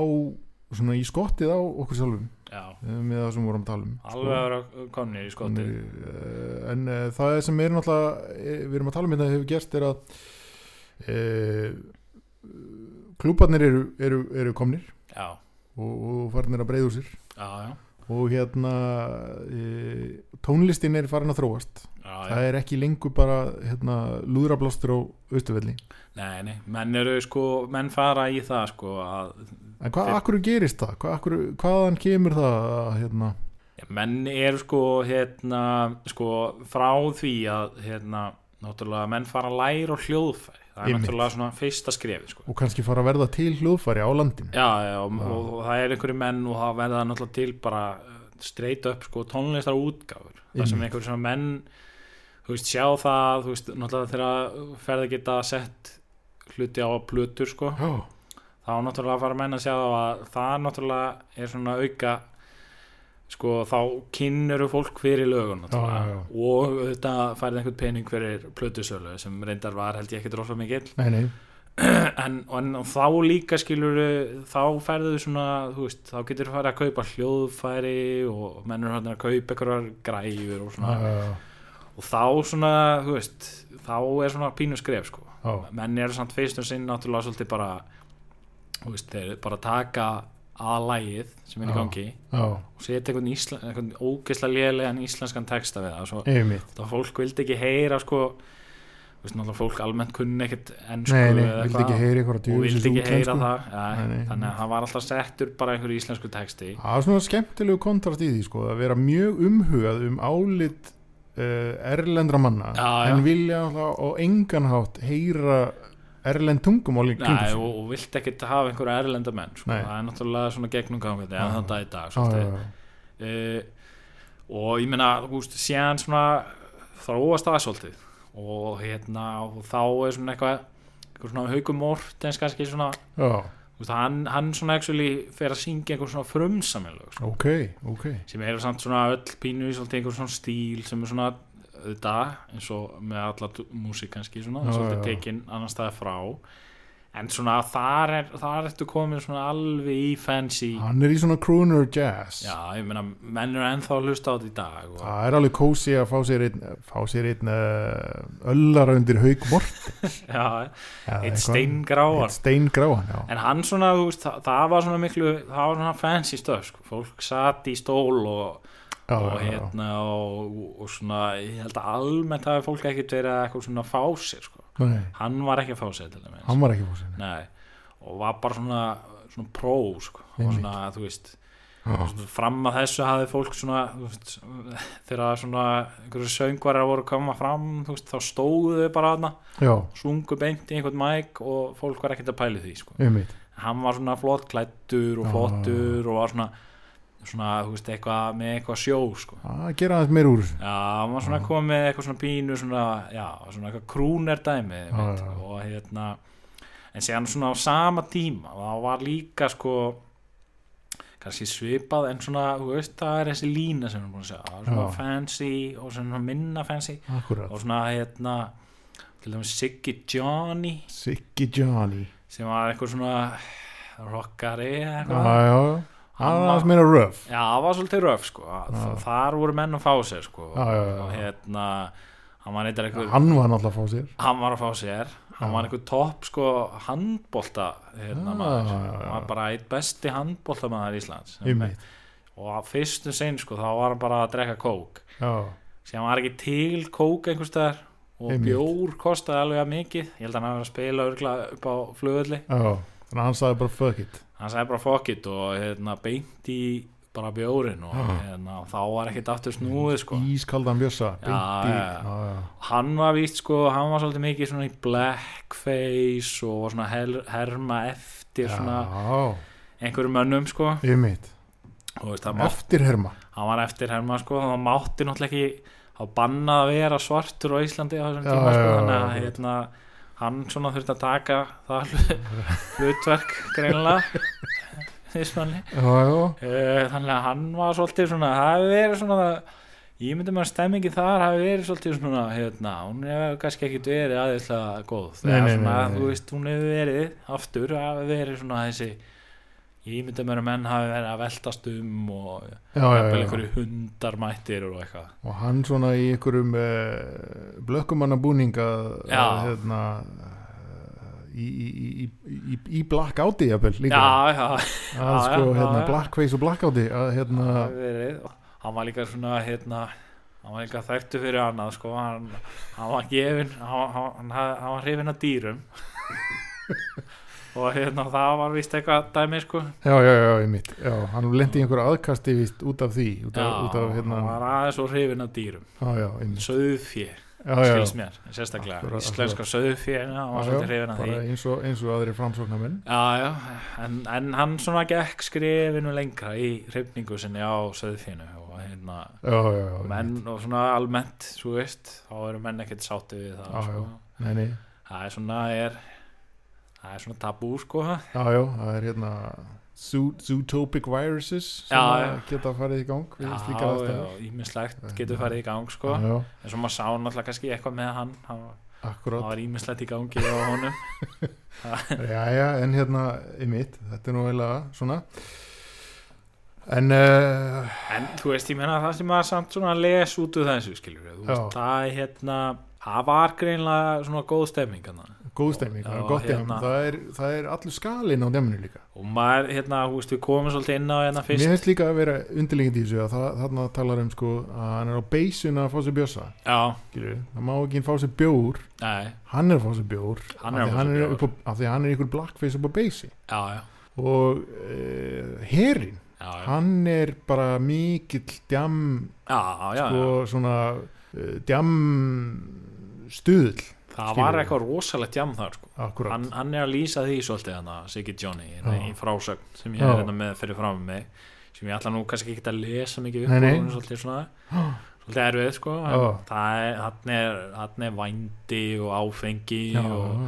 svona í skottið á okkur sjálfum
já,
eh, með það sem vorum að tala um
alveg að vera komnir í skoti
en, uh, en uh, það sem er náttúrulega eh, við erum að tala um þetta hefur gerst er að uh, klúbarnir eru, eru, eru komnir
já,
og, og farinir að breyða úr sér
já, já,
og hérna uh, tónlistin er farin að þróast
já, já.
það er ekki lengur bara hérna, lúðrablástur á austuvelli
nei, nei, menn eru sko menn fara í það sko að
en hvað, akkur gerist það? Hvað, akkur, hvaðan kemur það að, hérna,
Já, menn eru sko hérna, sko frá því að hérna, náttúrulega menn fara að læra og hljóðfæri það er
Einmitt.
náttúrulega svona fyrsta skrefi sko.
og kannski fara að verða til hljóðfæri á landinu
já, já, og, og, og það er einhverju menn og það verða náttúrulega til bara streyt upp sko tónlistar útgáfur það sem
Einmitt.
einhverju svona menn þú veist, sjá það, þú veist, náttúrulega þegar ferði geta sett hluti á plötur sko
já,
þá náttúrulega fara menn að sjá að það náttúrulega er svona auka sko þá kynnuru fólk fyrir lögun náttúrulega.
Já, já, já.
og auðvitað færið einhvern pening fyrir plötusölu sem reyndar var held ég ekkert rosa mikill
nei, nei,
en, en þá líka skilur þá færðu svona þú veist, þá getur þú farið að kaupa hljóðfæri og mennur hann að kaupa einhverjar græjur og svona
já,
og þá svona, þú veist þá er svona pínu skref sko
já,
menn eru samt fyrst og sinn náttúrulega svolítið bara þú veist, þeir bara taka aðlægið sem er í
Já.
gangi
já,
og setja einhvern, ísla, einhvern ógeðslega lélegan íslenskan texta við það svo,
einmitt
þá fólk vildi ekki heyra sko þú veist, náttúrulega fólk almennt kunni ekkert ennsku
Nei, nei,
eða
vildi
eitthvað
ekki heyra ykkur að
og
djúfis
vildi ekki heyra það ja,
Nei, nei.
þannig að hann var alltaf settur bara einhverju íslensku texti
Það er svona skemmtilegu kontrast í því sko, að vera mjög umhugað um álit uh, erlendra manna
Já, já.
en vilja það á engan hátt heyra erlend tungum á líka
Nei, og, og vildi ekkert hafa einhverja erlenda menn sko.
Nei.
það er náttúrulega svona gegnum gangandi en
Já.
þannig að í dag sko,
já,
svolítið.
já,
uh, og ég meina þú veist, síðan svona þróast það svolítið og hérna og þá er svona eitthvað eitthvað svona haugum mortens kannski svona
já,
þú veist, hann, hann svona actually fer að syngja einhver svona frumsamilög sko,
ok, ok
sem eru samt svona öll pínu í svolítið einhver svona stíl sem er svona auðvitað eins og með alla dú- músík kannski svona
Já,
svolítið
já.
tekin annar staði frá en svona þar er þar ertu komin svona alveg í fancy
Hann er í svona crooner jazz
já ég meina menn eru ennþá að hlusta á þetta í dag og,
Það er alveg kósi að fá sér einn, fá sér einn uh, öllara undir haug mort
já, eitt steingráan
Eitt steingráan, já
en hann svona, þú veist, það, það var svona miklu það var svona fancy stöf sko. fólk satt í stól og,
já,
og
já, já.
hérna og, og svona, ég held að almennt hafi fólk ekkert verið að eitthvað svona fá sér sko.
Nei,
hann var ekki að fá sér til þeim
hann var ekki fór sér
Nei, og var bara svona, svona pró sko. og
Einmitt.
svona, þú veist svona fram að þessu hafði fólk svona þú veist, þegar svona einhverju söngvarar voru að koma fram þú veist, þá stóðu þau bara þarna
Já,
sungu beint í einhvern mæk og fólk var ekkert að pæli því sko.
einmitt
hann var svona flott klættur og
Já.
flottur og var svona, svona þú veist, eitthvað með eitthvað sjó sko.
Að gera aðeins meir úr þessu.
já, hann var svona komið með eitthvað svona pínu svona, já, svona eitthvað krúner dæmi
Já,
mitt,
já.
og hérna en séðan svona á sama tíma það var líka sko kannski svipað en svona, þú veist, það er þessi lína sem við erum búin að segja, það er svona
Já.
fancy og svona minna fancy
Akkurat
og svona hérna til dæmis Siggy Johnny
Siggy Johnny
sem var eitthvað svona rockari eða
Já,
eitthvað
já, já.
Hann
hann
var-
var aðeins meira röf
Já, það var svolítið röf sko Þa, Þar voru menn að fá sér sko
Já, já, já, já.
Og hérna Hann var eitthvað einhver
Hann var náttúrulega að fá sér
Hann var að fá sér Hann
Já.
var einhver topp sko handbolta hérna
Já,
maður
já, já.
Hann var bara eitt besti handbolta maður Íslands
Einmitt
Og að fyrstu sinn sko þá var hann bara að drekka kók
Já,
Sér var ekki til kók einhvers staðar Og
Einmitt.
bjór kostaði alveg að mikið Ég held að hann hafi verið að spila örgulega upp á flugulli
já Þannig að hann sagði bara fuck it
hann sagði bara fuck it og hérna, beint í bara bjórin og hérna, þá var ekkert aftur snúið sko.
Ískaldan bjössa beint í-
já, já.
já, já.
hann var víst sko, hann var svolítið mikið svona í blackface og var svona her, herma eftir svona
Já,
einhverjum mönnum sko.
einmitt
og veist, það mátt,
Eftir herma
hann var eftir herma sko, og það mátti náttúrulega ekki þá bannað að vera svartur á Íslandi á þessum
Já,
tíma sko,
já, já,
þannig að
já.
hérna, hann svona þurfti að taka það [laughs] hlut- hlutverk
[laughs]
greinlega þessmanni
Já, já,
Eh, þannig að hann var svolítið svona það hafi verið svona ég myndi maður stemmingi þar hafi verið svolítið svona hérna, hún hefur kannski ekkit verið aðeinslega góð
Nei,
Eða
nei, nei,
svona,
nei, nei.
þú veist, hún hefur verið aftur hafi verið svona þessi ég myndi maður að menn hafi verið að veltast um og
já, já,
jafnvel
já.
einhverju hundar mættir og eitthvað
og hann svona í einhverjum uh, blökkumannabúning að
Já.
að, hérna eh, í, í, í, í, í blackouti jafnvel líka
já, já,
að
já,
sko
já,
hérna
já.
blackface og blackouti að hérna
hafi verið hann var líka svona hérna hann var líka þekktu fyrir annað sko hann, hann var gefin hann, hann, hann, hafði- hann var hrifin af
[laughs]
dýrum og hérna það var vist eitthvað dæmi sko
já já já ég mitt já, hann lendi í einhverju aðkasti víst út af því út af, út af hérna
hann var aðeins og hrifin af dýrum
já já einmitt
söðfjö,
já, já,
skils mér sérstaklega,
Akkúrat,
íslenska söðfjö hann var
Já, já,
svolítið hrifin af því
bara eins og, eins og aðri framsóknarmenn
já, já, en, en hann svona gekk skrifinu lengra í hrifningu sinni á söðfjönu og hérna
já já já
menn og svona almennt svo veist, þá eru menn ekkert sátti við það
Já,
sko.
nei, nei.
það er svona er, það er svona tabú sko
já já það er hérna zoo- zootopic viruses sem
Já,
að
já.
geta farið í gang við slíkar aðstæður
ímislegt getur farið í gang sko
já, já.
en svo maður sá náttúrulega kannski eitthvað með hann hann það
akkurát
var ímislegt í gangi á
[laughs]
honum
Jæja, en hérna í mitt, þetta er nú eiginlega svona en uh,
En þú veist, ég menna það sem að samt svona les út úr þessu, skilur við, þú
Já.
veist, það er hérna, það var greinlega svona góð stemming hann
góð stemming,
Já,
gott hjá
hérna.
það, er, það er allur skalinn á dæminu líka
og maður, hérna, þú veist, við komum svolítið inn á hérna
Mér
fyrst,
finnst líka að vera undirlíkandi í þessu að það, þarna talar um sko að hann er á beysun að fá sér bjössa
já,
skilur við, það má ekki fá sér bjór
nei,
hann er að fá sér bjór
Hann er að
af því
fá sér bjór.
upp á- af því hann er ykkur blackface upp á beysi
já, já,
og uh, herin,
já, já,
hann er bara mikill djam
já, já, já,
sko svona uh, djam stuðl
það
skilur
var
við.
eitthvað rosalegt jam þar, sko,
akkurat,
hann, hann er að lýsa því svolítið hann að Siggy Johnny, hérna,
Já.
í frásögn sem ég
Já.
er hérna með fyrir fram með mig, sem ég ætla nú kannski ekki að lesa mikið upp
Nei,
úr,
nei.
hún er svolítið svona, svolítið erfið, sko, en
Já.
það er, hann er, hann er vændi og áfengi
[gasps] já,
og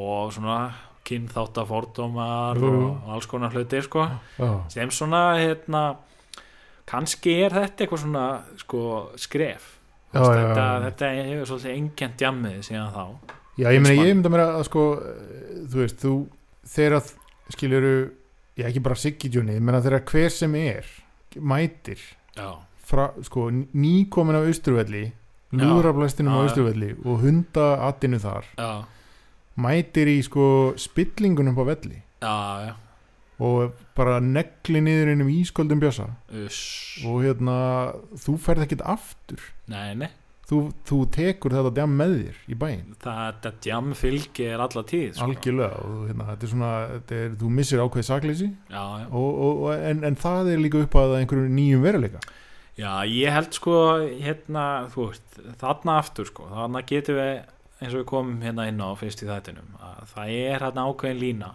og svona kynþátt af fordómar
Jú, jú.
og alls konar hlutir sko
já,
sem svona hérna kannski er þetta eitthvað svona sko skref
Já,
Þú veist,
já,
þetta,
já.
þetta hefur svolítið engjönd jammið síðan þá
já, ég meina ég mynda mér að sko, eh, þú veist, þú þegar að skiluru já, ekki bara Siggy Johnny, ég meina þegar hver sem er mætir
já,
fra, sko, nýkomin af austurvelli
Já.
lúðraflæstinum
Já,
á
já.
austurvelli og hunda attinu þar
já,
mætir í sko spillingunum á velli
já, já
og bara negli niður innum ísköldum bjösa
Uss,
og hérna þú ferð ekkit aftur
nei, nei,
þú, þú tekur þetta djam með þér í bæinn
þetta djamm fylgi er alla tíð sko.
algjörlega og hérna, þetta er svona þetta er, þú missir ákveð sakleysi
já, já.
og, og, og, en, en það er líka upp að einhverjum nýjum veruleika
já, ég held sko hérna, þú veist, þarna aftur sko, þarna getum við eins og við komum hérna inn á fyrst í þættinum að það er hérna ákveðin lína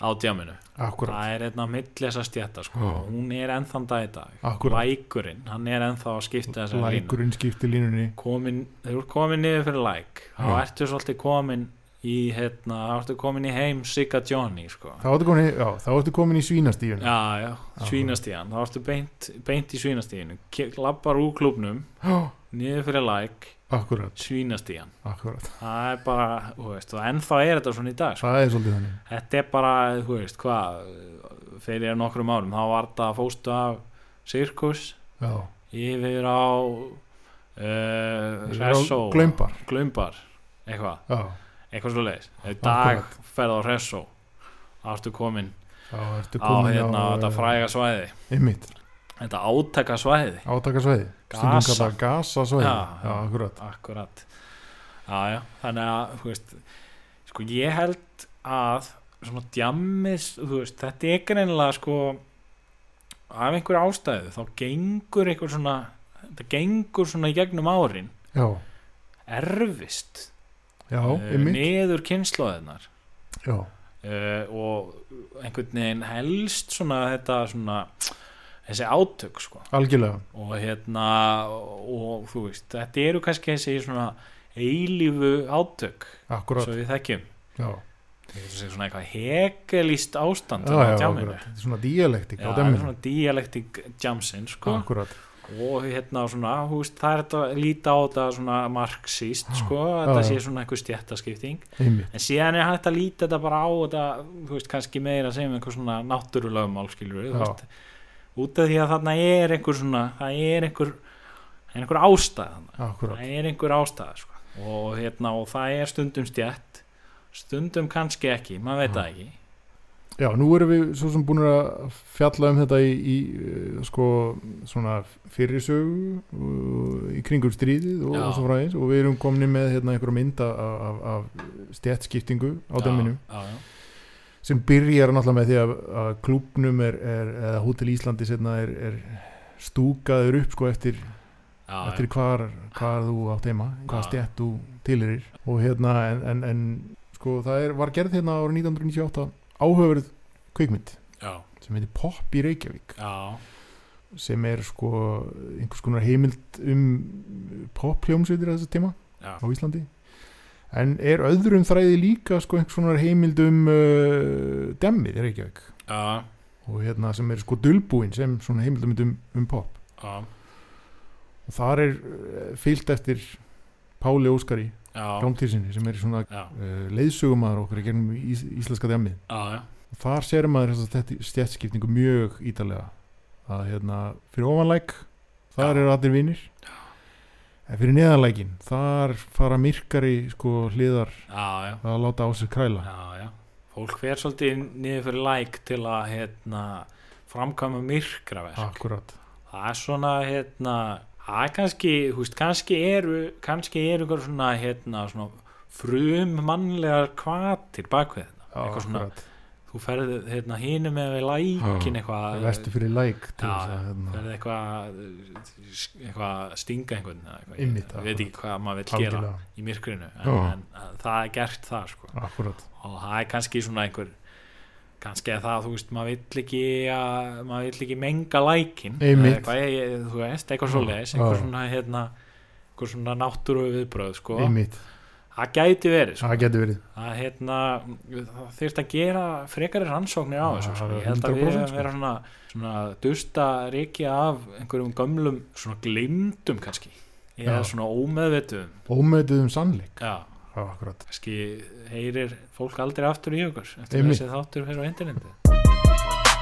á djamminu
akkurat,
það er einna milli þessa stjætta sko.
Já.
hún er ennþann dag í dag
Akkúrat.
lækurinn, hann er ennþá að skipta þessar línu
lækurinn skiptir línunni
komin, þeir eru komin niður fyrir læk þá
Já.
ertu svolítið komin í hérna, þá ertu komin í heim Sigga Johnny sko.
þá ertu komin, í- já, þá ertu komin í svínastífun
já, já, svínastíðan þá ertu beint, beint í svínastíðinu lappar úr klubnum,
[gasps]
niður fyrir læk
akkurat,
svínastíðan,
akkurat
það er bara þú veist, og ennþá er þetta svona í dag sko.
það er svolítið þannig
Þetta er bara, þú veist, hvað fyrir nokkrum árum, þá var þetta fóstu af sirkus
já,
yfir á uh,
Yfir á
Resso
Glaumbar.
Glaumbar, eitthvað,
já,
eitthvað svo leiðis í dag ferð á Resso þá ertu komin
þá
á
ertu komin eh,
hérna, þetta fræga svæði
ymmit,
þetta átaka svæði
átakasvæði
Gaza.
stundum kallað gasasvæði já,
Já.
já, akkurat,
akkurat já, já, þannig að þú veist, sko ég held að svona djammis þú veist, þetta er greinilega sko af einhverju ástæðu þá gengur einhver svona þetta gengur svona í gegnum árin
já,
erfist
já,
eh,
ymmit
niður kynnslóðinar
já,
uh, og einhvern veginn helst svona þetta svona þessi átök sko
algjörlega
og hérna og þú veist, þetta eru kannski þessi svona eilífu átök
akkurat,
svo við þekkjum
já
Þetta er svona eitthvað hegelist ástand
Já,
á
já,
djamminu.
akkurat. Þetta er svona
Já,
dialektik á
það er
dæminu
svona dialektik jamsin sko.
akkurat,
og hérna svona, þú veist, það er þetta að líta á þetta svona marxist sko,
já,
þetta
já.
sé svona eitthvað stjættaskipting
einmitt
en síðan er hægt að líta þetta bara á þetta, þú veist, kannski meira sem einhver svona náttúrulögumál skilur við,
Já.
þú veist út af því að þarna er einhver svona það er einhver, einhver ástæð þarna
akkurat,
það er einhver ástæða sko. og, hérna, og það er stundum stjætt stundum kannski ekki, maður veit það ekki
já, nú erum við svo sem búin að fjalla um þetta í, í eh, sko, svona fyrirsögu eh, í kringum stríðið og,
Já.
og svo fræðis og við erum komni með hérna einhverja mynda af, af, af stjættskiptingu á dæminu
já, já,
sem byrjar náttúrulega með því að, að klúbnum er, er, eða Hótel Íslandi setna er, er stúkaður upp sko eftir
já,
eftir hvar, hvar þú átt heima hvað
Já.
stjætt þú tilherir og hérna en, en, en sko það er, var gerð hérna árið 1998 áhöfurð kveikmynd
já,
sem heitir Pop í Reykjavík
já,
sem er sko einhvers konar heimild um poppljómsveitir þessu tíma
já,
á Íslandi en er öðrum þræði líka sko einhvers konar heimild um uh, demmið í Reykjavík
já,
og hérna sem er sko dulbúin sem svona heimildamönd um, um pop
já,
og þar er uh, fyllt eftir Páli Óskari
já,
Grámtýrsinni sem er svona
já,
uh, leiðsögumæður okkur í gennum ís, íslenska djammið
já, já.
og þar sér maður þess að stjættskipningu mjög ítalega að hérna, fyrir ofanlæk þar
Já.
eru allir vinnir en fyrir neðanlækin þar fara myrkari sko hliðar
já, já.
að láta á sér kræla
Já, já. Fólk fer svolítið niður fyrir læk til að hérna, framkvæma myrkraverk.
akkurat
Það er svona, hérna, það er kannski, þú veist, kannski eru, kannski eru einhver svona, hérna, svona frum mannlegar kvatir bakvið þetta. Eitthvað svona,
akkurat
þú ferði hérna hínum með við lækin eitthvað.
vestu fyrir læk til
Já,
þess að hérna,
ferði eitthvað, eitthvað stinga einhvern eða eitthvað.
Einmitt,
Ég veit ekki hvað maður vil gera
algjörlega
í myrkrinu, en,
Já.
en að það er gert það, sko.
akkurat
og það er kannski svona einhver kannski að það, þú veist, maður vill ekki að, maður vill ekki menga lækin
Einmitt.
eitthvað, ég- ég- þú veist, eitthvað svoleiðis einhver
Já.
svona, hérna einhver svona náttúru viðbröð, sko
einmitt
það gæti verið, sko
það getur verið
það, hérna, það þyrft að gera frekari rannsóknir á
Já,
þessu, sko ég held að
100%
við að
sko.
vera svona, svona dusta reikja af einhverjum gömlum svona glimdum kannski eða
Já.
svona ómeðvitum
ómeðuð um sannleik
já,
Já, akkurat
kannski heyrir fólk aldrei aftur í okkur eftir
Einmitt.
þessi þáttur fyrir á interneti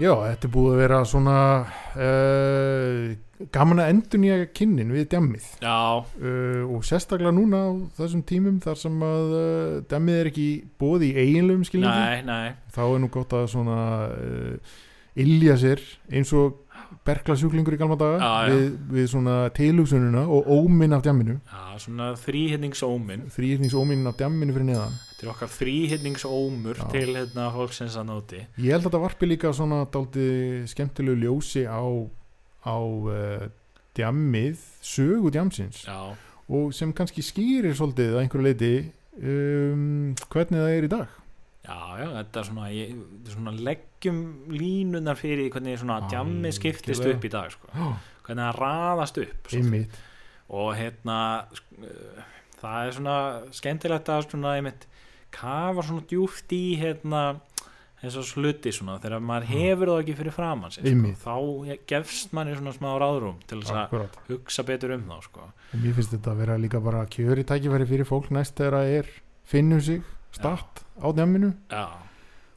já þetta er búið að vera svona uh, gaman að endur nýja kynnin við djammið
Já,
uh, og sérstaklega núna á þessum tímum þar sem að uh, demmið er ekki bóð í eiginlegum skilningi
nei, nei
þá er nú gott að svona uh, ilja sér eins og berkla sjúklingur í galma daga
Já, já.
Við, við svona tilugsununa og óminn af djamminu
Já, svona þrýhyrningsómin
þrýhýrnings óminn af djamminu fyrir neðan
Þetta er okkar þrýhyrningsómur
Já.
til hérna fólksins að nóti
ég held að þetta varpi líka svona dálítið skemmtilegu ljósi á, á uh, djammið sögu djamsins
Já,
og sem kannski skýrir svolítið að einhverju leiti um, hvernig það er í dag
já, já, þetta er svona, ég, þetta er svona leggjum línunar fyrir hvernig svona djammi skiptist
Algjörlega.
upp í dag sko.
Já.
hvernig það raðast upp svolítið.
einmitt
og hérna sk- eh, það er svona skemmtilegt að svona einmitt kafa svona djúft í hérna eins og sluti svona þegar maður hefur það ekki fyrir framann sér, sko.
Mm. Einmitt.
þá gefst manni svona smá ráðrúm til þess að
Akkurat.
hugsa betur um þá sko.
En Mér finnst þetta að vera líka bara kjöri tækifæri fyrir fólk næst þegar það er finnum sig, start á djaminu
já,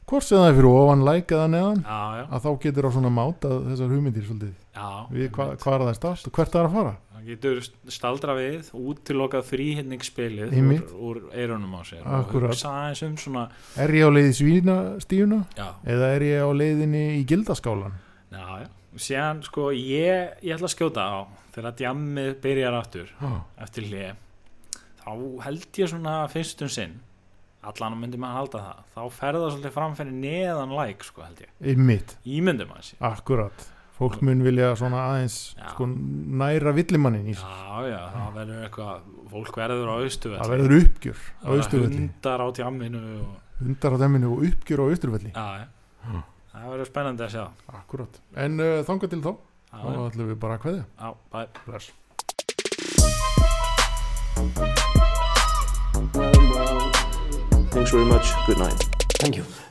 hvort sem það er fyrir ofan læk eða neðan
já, já,
að þá getur á svona máta þessar hugmyndir svolítið
já
við hva, hvað er það er start og hvert það er að fara
það getur st- staldra við útilokað fríhinningsspilið úr,
Einmitt.
úr eyrunum á sér
Akkúrat.
og hugsa aðeins um svona
er ég á leið í svína stíuna
já,
eða er ég á leiðinni í gildaskálan
já, já síðan sko ég, ég ætla að skjóta á þegar djammið byrjar aftur
ah,
eftir hlið þá held ég svona fyrstum sinn allan myndi maður halda það þá fer það svolítið framfyrir neðan læk sko held ég,
ymmit,
ímyndum maður sér
akkurat fólk mun vilja svona aðeins
Já.
sko, næra villimannin í
já já, það verður eitthvað fólk verður á austuvelli
það verður uppgjör á
verða
austurvelli
hundar á djamminu og,
hundar á djaminu og uppgjör á austurvelli
já, já. það verður spennandi að sjá
akkurat, en uh, þanga til þá þá
já,
ætlum við bara að kveðja
já, bæ
Bless.
Well, well, thanks very much. Good night.
Thank you.